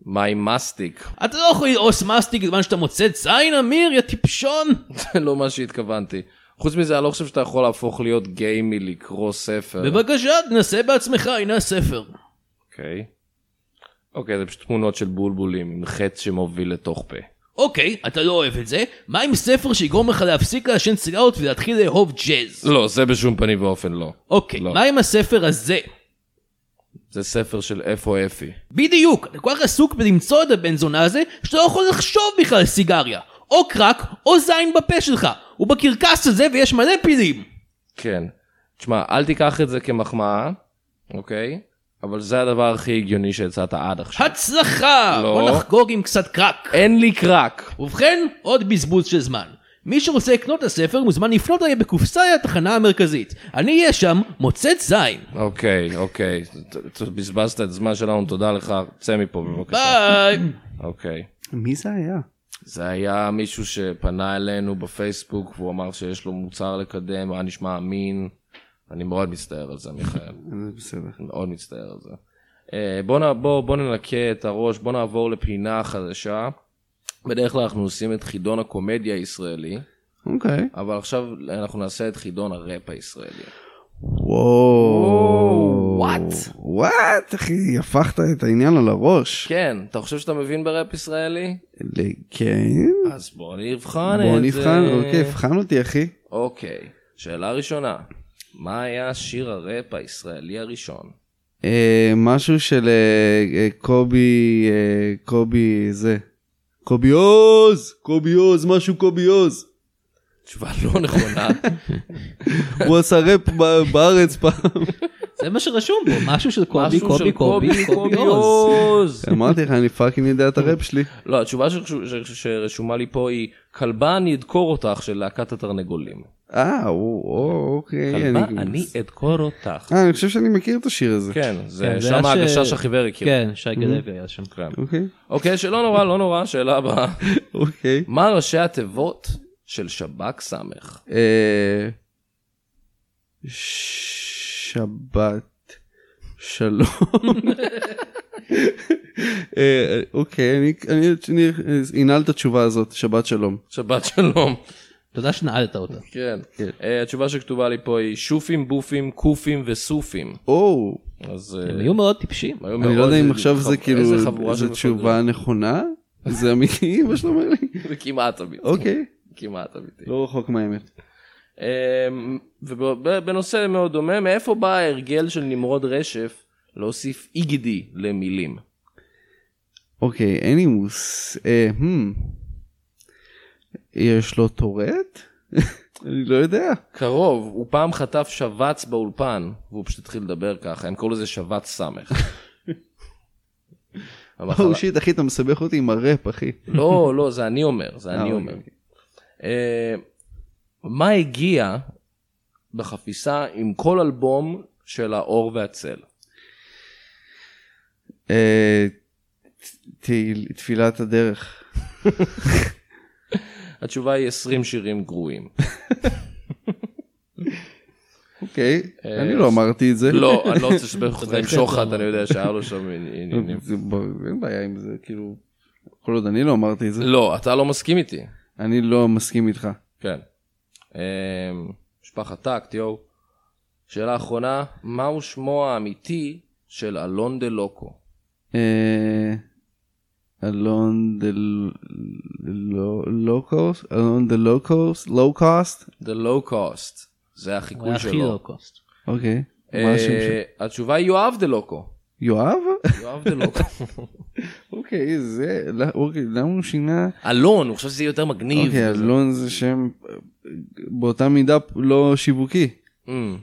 מה עם מסטיק?
אתה לא יכול ללעוס מסטיק בזמן שאתה מוצאת זין, אמיר, יא טיפשון.
זה לא מה שהתכוונתי. חוץ מזה, אני לא חושב שאתה יכול להפוך להיות גיי מלקרוא ספר.
בבקשה, תנסה בעצמך, הנה הספר.
אוקיי. אוקיי, זה פשוט תמונות של בולבולים עם חץ שמוביל לתוך פה.
אוקיי, אתה לא אוהב את זה, מה עם ספר שיגרום לך להפסיק לעשן סיגריות ולהתחיל לאהוב ג'אז?
לא, זה בשום פנים ואופן לא.
אוקיי,
לא.
מה עם הספר הזה?
זה ספר של איפה אפי.
בדיוק, אתה כל כך עסוק בלמצוא את הבן זונה הזה, שאתה לא יכול לחשוב בכלל על סיגריה. או קרק, או זין בפה שלך. ובקרקס הזה ויש מלא פילים.
כן. תשמע, אל תיקח את זה כמחמאה, אוקיי? אבל זה הדבר הכי הגיוני שהצעת עד עכשיו.
הצלחה!
לא.
בוא נחגוג עם קצת קרק.
אין לי קרק.
ובכן, עוד בזבוז של זמן. מי שרוצה לקנות את הספר מוזמן לפנות אליי בקופסאי התחנה המרכזית. אני אהיה שם, מוצאת זין.
אוקיי, אוקיי. ת- ת- בזבזת את הזמן שלנו, תודה לך. צא מפה בבקשה.
ביי!
אוקיי.
מי זה היה?
זה היה מישהו שפנה אלינו בפייסבוק והוא אמר שיש לו מוצר לקדם, היה נשמע אמין. אני מאוד מצטער על זה, מיכאל.
זה בסדר.
מאוד מצטער על זה. אה, בוא, נע- בוא, בוא ננקה את הראש, בוא נעבור לפינה חדשה. בדרך כלל אנחנו עושים את חידון הקומדיה הישראלי,
אוקיי.
אבל עכשיו אנחנו נעשה את חידון הראפ הישראלי.
וואו.
וואט?
וואט, אחי, הפכת את העניין על הראש.
כן, אתה חושב שאתה מבין בראפ ישראלי?
ל- כן.
אז בוא נבחן
בוא
את זה.
נבחן, אוקיי, הבחן אותי, אחי.
אוקיי, שאלה ראשונה. מה היה שיר הראפ הישראלי הראשון?
אה, משהו של אה, אה, קובי, אה, קובי זה. קובי עוז! קובי עוז, משהו קובי עוז.
תשובה לא נכונה.
הוא עשה ראפ ב- בארץ פעם.
זה מה שרשום פה, משהו של קובי,
משהו של
קובי, קובי, קובי עוז. כן.
עוז.
אמרתי לך, אני פאקינג יודע את הראפ שלי.
לא, התשובה שרשו- ש- שרשומה לי פה היא כלבה אני אדקור אותך של להקת התרנגולים.
כן,
אה, הוא- או, אוקיי.
כלבה אני אדקור אותך.
אה, אני חושב שאני מכיר את השיר הזה.
כן, זה
כן, זה
שם
היה ש-
הגשש החיוור הכיר.
כן, שי גלוי היה שם.
כן.
אוקיי.
אוקיי, שלא נורא, לא נורא, שאלה הבאה.
אוקיי.
מה ראשי התיבות של שב"כ סמך?
אה, שבת שלום. אה, אוקיי, אני- אני אני אנעל את התשובה הזאת, שבת שלום.
שבת שלום.
תודה שנעלת אותה.
כן. אה, התשובה שכתובה לי פה היא שופים, בופים, קופים וסופים.
או,
אז...
הם
אה,
היו מאוד טיפשים.
היו
אני
מאוד-
לא יודע אם
איזה
עכשיו זה
חב-
כאילו,
איזה חבורה של
זו
מפגרים.
תשובה נכונה? זה אמיתי, מה שאתה אומר לי?
זה כמעט אמיתי.
אוקיי,
כמעט אמיתי.
לא רחוק מהאמת.
אמ, ובנושא מאוד דומה, מאיפה בא ההרגל של נמרוד רשף להוסיף איגדי למילים?
אוקיי, אין לי מוס. אה, הם. יש לו טורט? אני לא יודע.
קרוב, הוא פעם חטף שבץ באולפן, והוא פשוט התחיל לדבר ככה, הם קראו לזה שבץ סמך. המחלה-
או שיט, Oh, אחי, אתה מסבך אותי עם הראפ, אחי.
לא, לא, זה אני אומר, זה
אה,
אני
אוקיי,
אומר. אה, מה הגיע בחפיסה עם כל אלבום של האור והצל?
אה, ת- ת- תפילת הדרך.
התשובה היא 20 שירים גרועים.
אוקיי,
אה,
אני לא
אז-
אמרתי את זה.
לא, אני לא רוצה לסבך אותך עם
בהחלט
שוחד,
לא.
אני יודע שהיה לו שם עניינים.
זה ב- אין בעיה עם זה, כאילו, כל עוד אני לא אמרתי את זה,
לא, אתה לא מסכים איתי.
אני לא מסכים איתך.
כן. אמ, משפחת טקט, יואו. שאלה אחרונה, מהו שמו האמיתי של אלון דה לוקו.
אה, אלון דה לא- לא קוסט? אלון דה לא קוסט? לא קוסט?
דה לואו קוסט. זה
הוא היה
החיקוי
הכי
שלו.
לא קוסט.
אוקיי.
אה,
מה השם שלו?
התשובה היא יואב דה לוקו.
יואב?
יואב דה לוקו.
אוקיי, זה... לא- אוקיי, למה הוא שינה?
אלון, הוא חושב שזה יהיה יותר מגניב.
אוקיי,
וזה-
אלון זה שם אה, באותה מידה לא שיווקי.
אמ.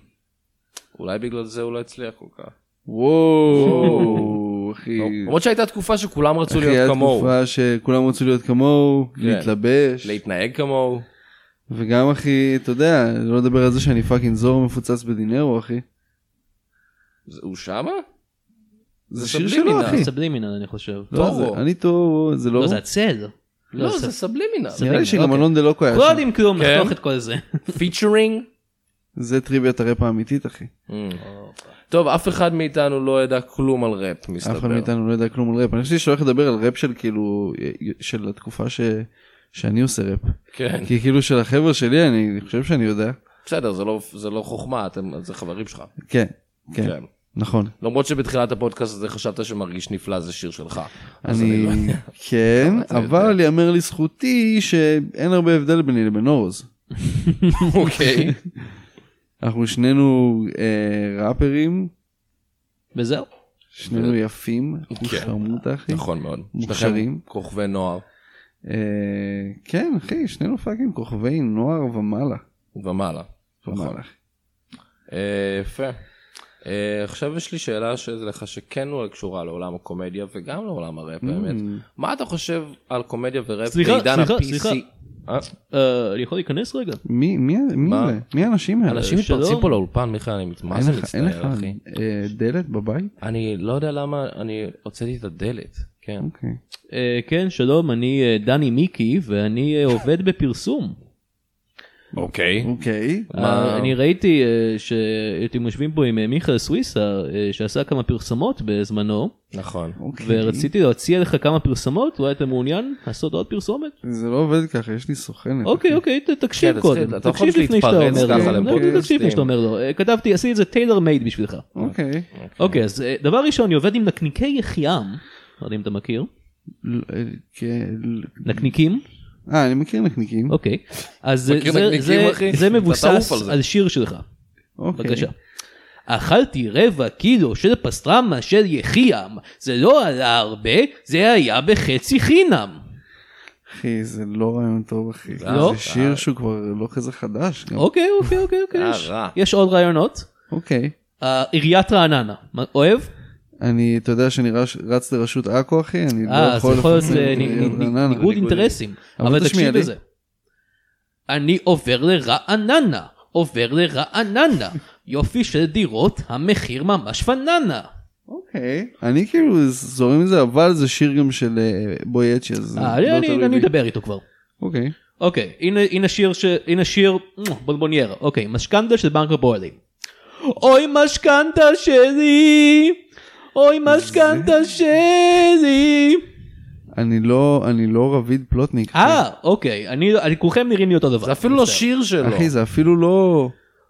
אולי בגלל זה הוא לא הצליח כל כך.
וואו, אחי.
למרות שהייתה תקופה שכולם רצו
אחי,
לא, להיות
הייתה
כמוהו.
תקופה שכולם רצו להיות כמוהו, להתלבש,
להתנהג כמוהו.
וגם אחי, אתה יודע, לא לדבר על זה שאני פאקינג זור מפוצץ בדינרו, אחי.
זה- הוא שמה?
זה
זה
שיר
סבלימינל,
שלו, אחי.
סבלימינל אני חושב.
לא,
טורו.
זה- אני טורו, זה לא...
לא, זה הצל.
לא,
זה-
זה סבלימינל.
זה-
נראה לי שגם
אוקיי.
אלון דלוקו היה
כל
שם.
עם כלום,
כן.
נחתוך את כל זה.
פיצ'רינג.
זה טריוויית הראפ האמיתית, אחי.
Mm. טוב, אף אחד מאיתנו לא ידע כלום על ראפ, מסתבר.
אה, אף אחד מאיתנו לא יודע כלום על ראפ. אני חושב שאני הולך לדבר על ראפ של כאילו, של התקופה ש... שאני עושה ראפ.
כן.
כי כאילו של החבר'ה שלי, אני חושב שאני יודע.
בסדר, זה לא- זה לא חוכמה, אתם- זה חברים שלך.
כן, כן,
כן.
נכון.
למרות שבתחילת הפודקאסט הזה חשבת שמרגיש נפלא זה שיר שלך. אז
אני,
לא-
כן,
אתה
אבל יאמר לזכותי שאין הרבה הבדל ביני לבין אורז.
אוקיי.
אנחנו שנינו אה, ראפרים,
וזהו.
שנינו יפים, אנחנו
כן.
חמודה אחי.
נכון מאוד.
מוכשרים.
שניכם כוכבי נוער
אה, כן, אחי, שנינו פאקינג כוכבי נוער ומעלה.
ומעלה. נכון.
ומעלה, אחי.
אה, יפה. אה, עכשיו יש לי שאלה שזה לך שכן אולי קשורה לעולם הקומדיה וגם לעולם
Mm.
הראפ האמת. מה אתה חושב על קומדיה וראפ
סליחה,
בעידן
סליחה,
ה-PC?
סליחה.
אה?
אה, אני יכול להיכנס רגע?
מי מי- מי
מה?
אלה? מי האנשים האלה?
אנשים
אה, שלום.
מתפרצים פה לאולפן מיכאל אני מת- מה
אין
זה
לך- אין לך
מצטער אחי.
אה, דלת בבית?
אני לא יודע למה אני הוצאתי את הדלת. כן.
אוקיי.
אה, כן, שלום, אני אה, דני מיקי, ואני אה, עובד בפרסום.
אוקיי.
אוקיי.
מה?
אה, אני ראיתי אה, שאתם יושבים פה עם אה, מיכאל סוויסה, אה, שעשה כמה פרסמות בזמנו,
נכון.
אוקיי.
ורציתי להציע לך כמה פרסמות, אולי אתה מעוניין לעשות עוד פרסומת?
זה לא עובד ככה, יש לי סוכנת.
אוקיי, אוקיי, ת- תקשיב
כן,
קודם,
אתה צריך- אתה
תקשיב
יכול
לפני שאתה
להתפרץ
אומר
ככה
לו,
לפודקאסטים.
לא, תקשיב לפני שאתה אומר לו, אה, כתבתי, עשיתי את זה טיילר מייד בשבילך.
אוקיי.
אוקיי, אז אה, דבר ראשון, אני עובד עם נקניקי יחיעם, לא יודע אם אתה מכיר,
Mm-hmm.
ל- אה, כן, ל-
נקניקים,
אה, אני מכיר נקניקים.
אוקיי, אז זה-
מכיר
זה-
נקניקים,
זה-
אחי?
זה
אתה
מבוסס
תעוף על זה.
על שיר שלך,
אוקיי.
בבקשה. אכלתי רבע קילו של פסטרמה של יחיעם, זה לא עלה הרבה, זה היה בחצי חינם.
אחי, זה לא רעיון טוב, אחי.
לא?
זה שיר שהוא כבר לא כזה חדש. גם.
אוקיי, אוקיי, אוקיי, אוקיי,
אה,
יש-
רע.
יש עוד רעיונות?
אוקיי.
אה, עיריית רעננה, מה- אוהב?
אני, אתה יודע שאני רש- רץ לראשות עכו, אחי? אני
אה,
לא
אז
יכול...
יכול להיות
לפרסם
אה, נ-
את
נ- נ-
רעננה.
ניגוד אינטרסים,
אבל
אבל
תשמיע
תקשיב
לי.
לזה. אני עובר לרעננה, עובר לרעננה, יופי של דירות, המחיר ממש פננה.
אוקיי. אני כאילו זורם עם זה, אבל זה שיר גם של אה, בויאצ'י, אז... זה
אה,
לא
אני-
תלוי
אני
בי.
אדבר איתו כבר.
אוקיי.
אוקיי, הנה- הנה שיר ש... הנה שיר בולבוניירה. אוקיי, משכנתה של בנק הפועלים. אוי משכנתה שלי, אוי משכנתה שלי.
אני לא, אני לא רביד פלוטניק. אחי.
אה, אוקיי, אני, אני- כולכם נראים לי אותו דבר.
כן. זה אפילו לא שיר שלו.
אחי, זה אפילו לא...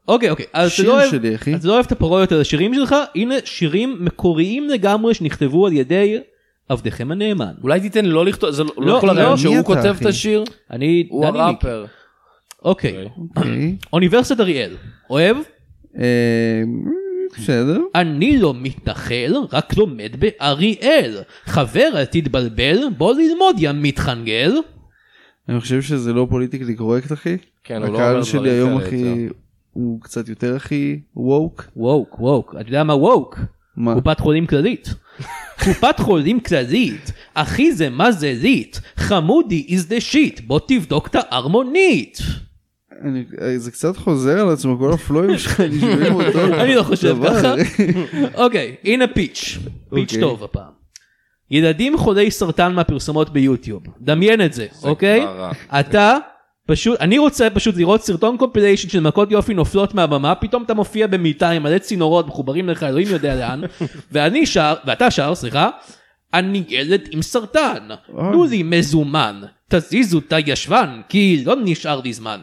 אוקיי, אוקיי, אז אתה
שיר
לא אוהב...
שלי, אחי.
אתה לא אוהב את הפרודיות על השירים שלך, הנה שירים מקוריים לגמרי שנכתבו על ידי עבדיכם הנאמן.
אולי תיתן לא לכתוב, זה לא-
לא,
לא כל
לא.
הרעיון
מי
שהוא
אתה,
כותב
אחי?
את השיר,
אני...
הוא
דני מיקי.
הראפר.
אוקיי.
אוקיי.
אוניברסיטת אריאל, אוהב?
אה, בסדר.
אני לא מתנחל, רק לומד באריאל. חבר, אל תתבלבל, בוא ללמוד יא מתחנגל.
אני חושב שזה לא פוליטיקלי קורקט, אחי.
כן, הוא לא
הקהל
אומר
שלי
דברים
היום,
כאלה לא-
אחי, הוא קצת יותר, אחי, ווק.
ווק, ווק. אתה יודע מה ווק?
מה?
קופת חולים כללית. קופת חולים כללית, אחי זה מה זה ליט, חמודי is the shit, בוא תבדוק את הארמונית.
אני, זה קצת חוזר על עצמו, כל הפלואים שלך נשמעים אותו.
אני לא חושב
דבר.
ככה. אוקיי, הנה פיץ', פיץ'
אוקיי.
טוב הפעם. ילדים חולי סרטן מהפרסומות ביוטיוב, דמיין את זה, אוקיי?
כבר רע.
אתה פשוט, אני רוצה פשוט לראות סרטון קומפיליישן של מכות יופי נופלות מהבמה, פתאום אתה מופיע במיטה עם מלא צינורות מחוברים לך, אלוהים יודע לאן, ואני שר, ואתה שר, סליחה, אני ילד עם סרטן, תנו לי מזומן, תזיזו את הישבן, כי לא נשאר לי זמן.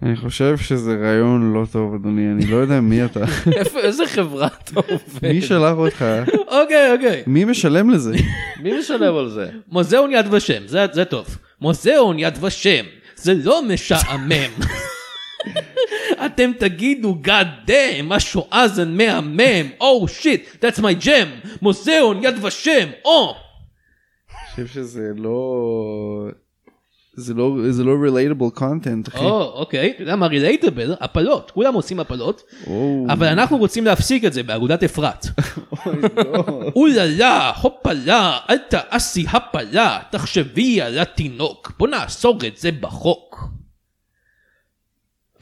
אני חושב שזה רעיון לא טוב, אדוני, אני לא יודע מי אתה.
איפה- איזה חברה אתה עובד?
מי שלח אותך?
אוקיי, אוקיי.
מי משלם לזה?
מי משלם על זה?
מוזיאון יד ושם, זה- זה טוב. מוזיאון יד ושם, זה לא משעמם. אתם תגידו, God damn, השואה זה מהמם, Oh shit, that's my jam, מוזיאון יד ושם, או!
אני חושב שזה לא... זה לא, זה לא relatable content, אחי.
או, אוקיי, אתה יודע מה רילייטבל? הפלות, כולם עושים הפלות,
או,
אבל אנחנו רוצים להפסיק את זה באגודת אפרת.
אוי, לא.
אוללה, הופלה, אל תעשי הפלה, תחשבי על התינוק, בוא נאסור את זה בחוק.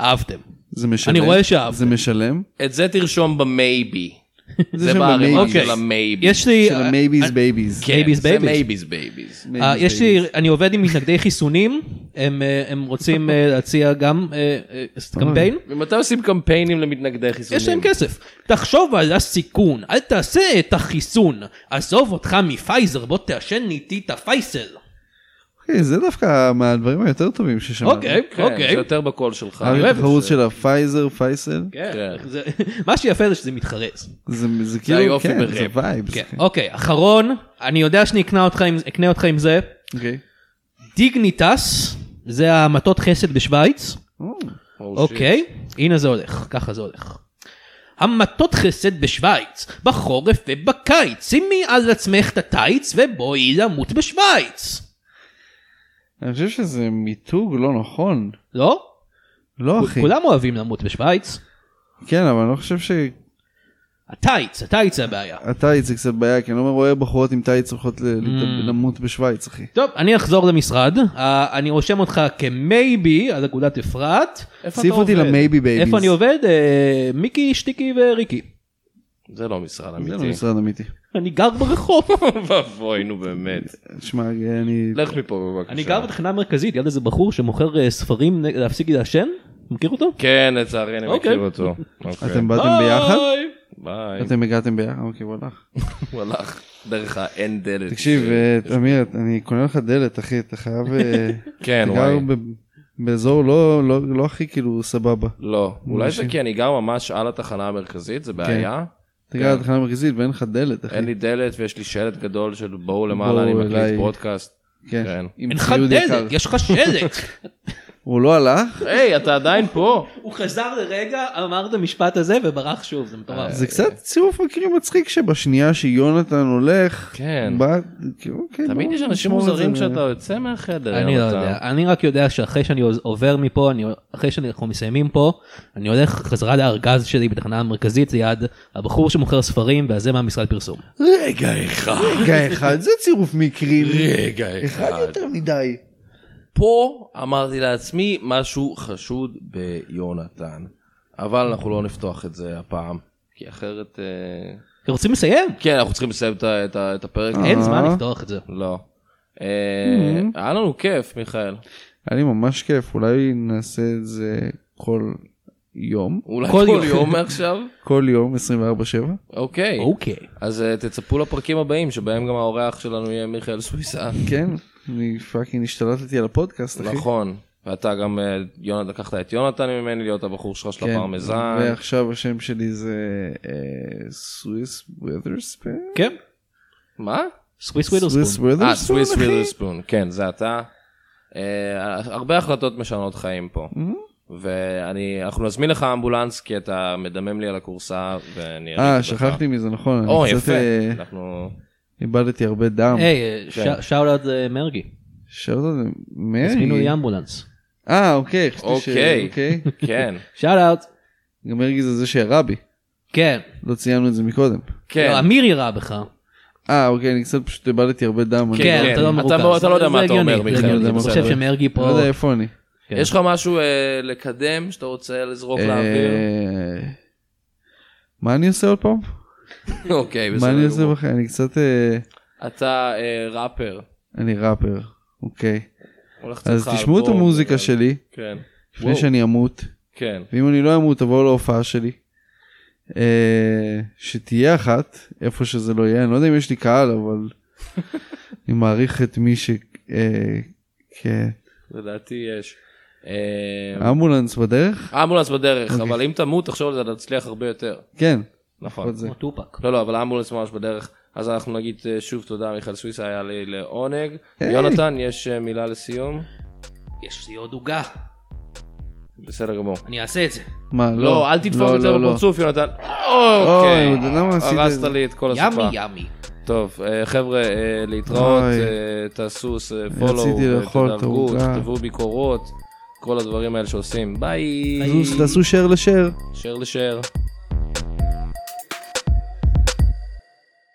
אהבתם.
זה משלם?
אני רואה שאהבת.
זה משלם?
את זה תרשום במייבי. זה
שם
בערימה
ב-maybe.
של
אוקיי.
המייבי.
יש לי...
של ה-maybes babies.
כן. Babies,
זה
babies.
מייביז בייביז.
Maybes
אה, יש
babies.
לי, אני עובד עם מתנגדי חיסונים, הם, אה, הם רוצים אה, להציע גם אה, אה, קמפיין,
ומתי עושים קמפיינים למתנגדי חיסונים?
יש להם כסף. תחשוב על הסיכון, אל תעשה את החיסון, עזוב אותך מפייזר, בוא תעשן איתי את הפייסל.
אוקיי, זה דווקא מהדברים היותר טובים ששמענו.
אוקיי,
כן,
אוקיי.
זה יותר בקול שלך.
היה
אוהב את
תחרות
זה.
של הפייזר, פייסל.
כן,
כן.
זה- מה שיפה זה שזה מתחרז.
זה זה כאילו,
היופי
כן,
בראפ.
זה וייבס.
כן, אוקיי, אחרון, אני יודע שאני אקנה אותך עם- אקנה אותך עם זה,
אוקיי.
דיגניטס, זה המטות חסד בשוויץ.
או,
Oh, shit.
אוקיי, הנה זה הולך, ככה זה הולך. המטות חסד בשוויץ, בחורף ובקיץ, שימי על עצמך את הטייץ ובואי למות בשוויץ.
אני חושב שזה מיתוג לא נכון.
לא?
לא, אחי.
כולם אוהבים למות בשוויץ.
כן, אבל אני לא חושב שהטייץ
הטייץ, הטייץ זה הבעיה.
זה קצת בעיה, כי אני לא רואה בחורות עם טייץ הולכות
Mm.
ל- לת- למות בשוויץ, אחי.
טוב, אני אחזור למשרד, אה, אני רושם אותך כמייבי על אגודת אפרת.
איפה
ציף
אתה
אותי
עובד?
למייבי בייביז.
איפה אני עובד? אה, מיקי, שטיקי וריקי.
זה לא משרד
זה לא
אמיתי.
משרד אמיתי.
אני גר ברחוב.
ואבוי, נו באמת.
תשמע, אני...
לך מפה בבקשה.
אני גר בתחנה מרכזית, ליד איזה בחור שמוכר אה, ספרים נגד- להפסיק לעשן? מכיר אותו?
כן, לצערי אני
אוקיי.
מכיר אותו. אוקיי.
אתם באתם ביחד?
היי.
ביי.
אתם הגעתם ביחד? אוקיי, הוא הלך.
הוא הלך דרך האין דלת.
תקשיב, אה, אמיר, אני קונה לך דלת, אחי, אתה חייב... אה,
כן,
אתה
וואי.
גר ב- באזור לא- לא לא הכי כאילו סבבה.
לא, אולי זה כי אני גר ממש על התחנה המרכזית,
כן.
זה בעיה.
אתה גר בתחנה המרכזית ואין לך דלת, אחי.
אין לי דלת ויש לי שלט גדול של בואו למעלה,
בואו
אני
אליי.
מקליט פודקאסט.
כן.
כן.
עם
אין לך
ציוד יקר.
דלת, יש לך שלט.
הוא לא הלך?
היי, אתה עדיין פה?
הוא חזר לרגע, אמר את המשפט הזה וברח שוב, זה מטורף.
זה קצת צירוף מקרים מצחיק שבשנייה שיונתן הולך,
כן.
בא, כאילו, אוקיי,
תמיד
בוא
יש אנשים
נשמור את זה
מוזרים
ו-
כשאתה יוצא מהחדר.
אני לא
אתה-
יודע, אני רק יודע שאחרי שאני עובר מפה, אני- אחרי שאנחנו מסיימים פה, אני הולך חזרה לארגז שלי בתחנה המרכזית ליד הבחור שמוכר ספרים והזה מהמשרד פרסום.
רגע אחד,
רגע אחד, זה צירוף מקרים,
רגע
אחד
אחד.
יותר מדי.
פה אמרתי לעצמי משהו חשוד ביונתן, אבל אנחנו לא נפתוח את זה הפעם, כי אחרת... אה,
רוצים לסיים?
כן, אנחנו צריכים לסיים את ה- את ה- את הפרק.
אין זמן לפתוח את זה.
לא. אה,
Mm-hmm.
היה לנו כיף, מיכאל.
היה לי ממש כיף, אולי נעשה את זה כל יום,
אולי
כל
כל
יום.
יום מעכשיו?
כל יום 24/7.
אוקיי.
אוקיי.
אז אה, תצפו לפרקים הבאים, שבהם גם האורח שלנו יהיה מיכאל סויסה.
כן, אני פאקינג השתלטתי על הפודקאסט, אחי.
נכון. ואתה גם, אה, יונתן, לקחת את יונתן ממני להיות הבחור שלך של
כן.
הפרמזן.
ועכשיו השם שלי זה אה, סוויס ווית'רספן?
כן.
מה?
סוויס ווידרספון.
אה, סוויס
אחי?
ווילרספון, כן, זה אתה. אה, הרבה החלטות משנות חיים פה. ואני, אנחנו נזמין לך אמבולנס, כי אתה מדמם לי על הכורסה, ואני...
אה,
אריק אותך.
שכחתי מזה, נכון. אני
או,
קצת,
יפה.
אה,
אנחנו...
איבדתי הרבה דם.
היי,
כן.
שאוט מרגי.
שאלת אותי, מרי?
הזמינו לי אמבולנס.
אה, אוקיי. חשבתי ש-
אוקיי.
אוקיי.
כן,
שאוט אאוט.
גם מרגי זה זה שירה בי.
כן.
לא ציינו את זה מקודם.
כן.
לא, אמיר ירה בך.
אה, אוקיי, אני קצת פשוט איבדתי הרבה דם. אני
כן,
כן.
אתה לא
אתה
מרוכז.
לא- אתה לא יודע
זה
מה אתה
הגיוני,
אומר,
זה
מיכאל,
הגיוני.
זה
אני חושב
בסדר.
שמרגי פה...
לא יודע איפה אני.
יש לך משהו אה, לקדם שאתה רוצה לזרוק לאוויר?
אה, מה אני עושה עוד פעם?
אוקיי,
מה אני
בסדר.
עושה
גמור.
בחיים? אני קצת... אה,
אתה אה, ראפר.
אני ראפר. אוקיי.
הולך לצאת
אז
לך
תשמעו את
אלבום,
המוזיקה
אבל-
שלי
כן.
לפני
וואו,
שאני אמות.
כן.
ואם אני לא אמות תבואו להופעה שלי. אה, שתהיה אחת איפה שזה לא יהיה אני לא יודע אם יש לי קהל אבל אני מעריך את מי ש... אה, כן.
לדעתי יש. אה,
אמבולנס בדרך?
אמבולנס בדרך,
אוקיי.
אבל אם תמות, תחשוב על זה, אתה תצליח הרבה יותר.
כן.
נכון.
זה.
כמו טופק.
לא, לא, אבל האמבולנס ממש בדרך. אז אנחנו נגיד אה, שוב תודה, מיכאל סוויסה, היה לי לעונג.
היי.
יונתן, יש אה, מילה לסיום?
יש לי עוד עוגה,
בסדר גמור.
אני אעשה את זה.
מה, לא.
לא, אל תדפוק
לא,
את זה
לא, לא.
בפרצוף, יונתן.
אוי, לא
אוקיי.
אתה יודע מה עשית?
הרסת לי את כל הסופה.
ימי ימי.
טוב, אה, חבר'ה, אה, להתראות,
אוי.
אה, תעשו פולו,
רציתי לאכול את
תדברו,
העוגה.
תכתבו ביקורות, כל הדברים האלה שעושים. ביי.
תעשו- תעשו share לשאר.
share לשאר.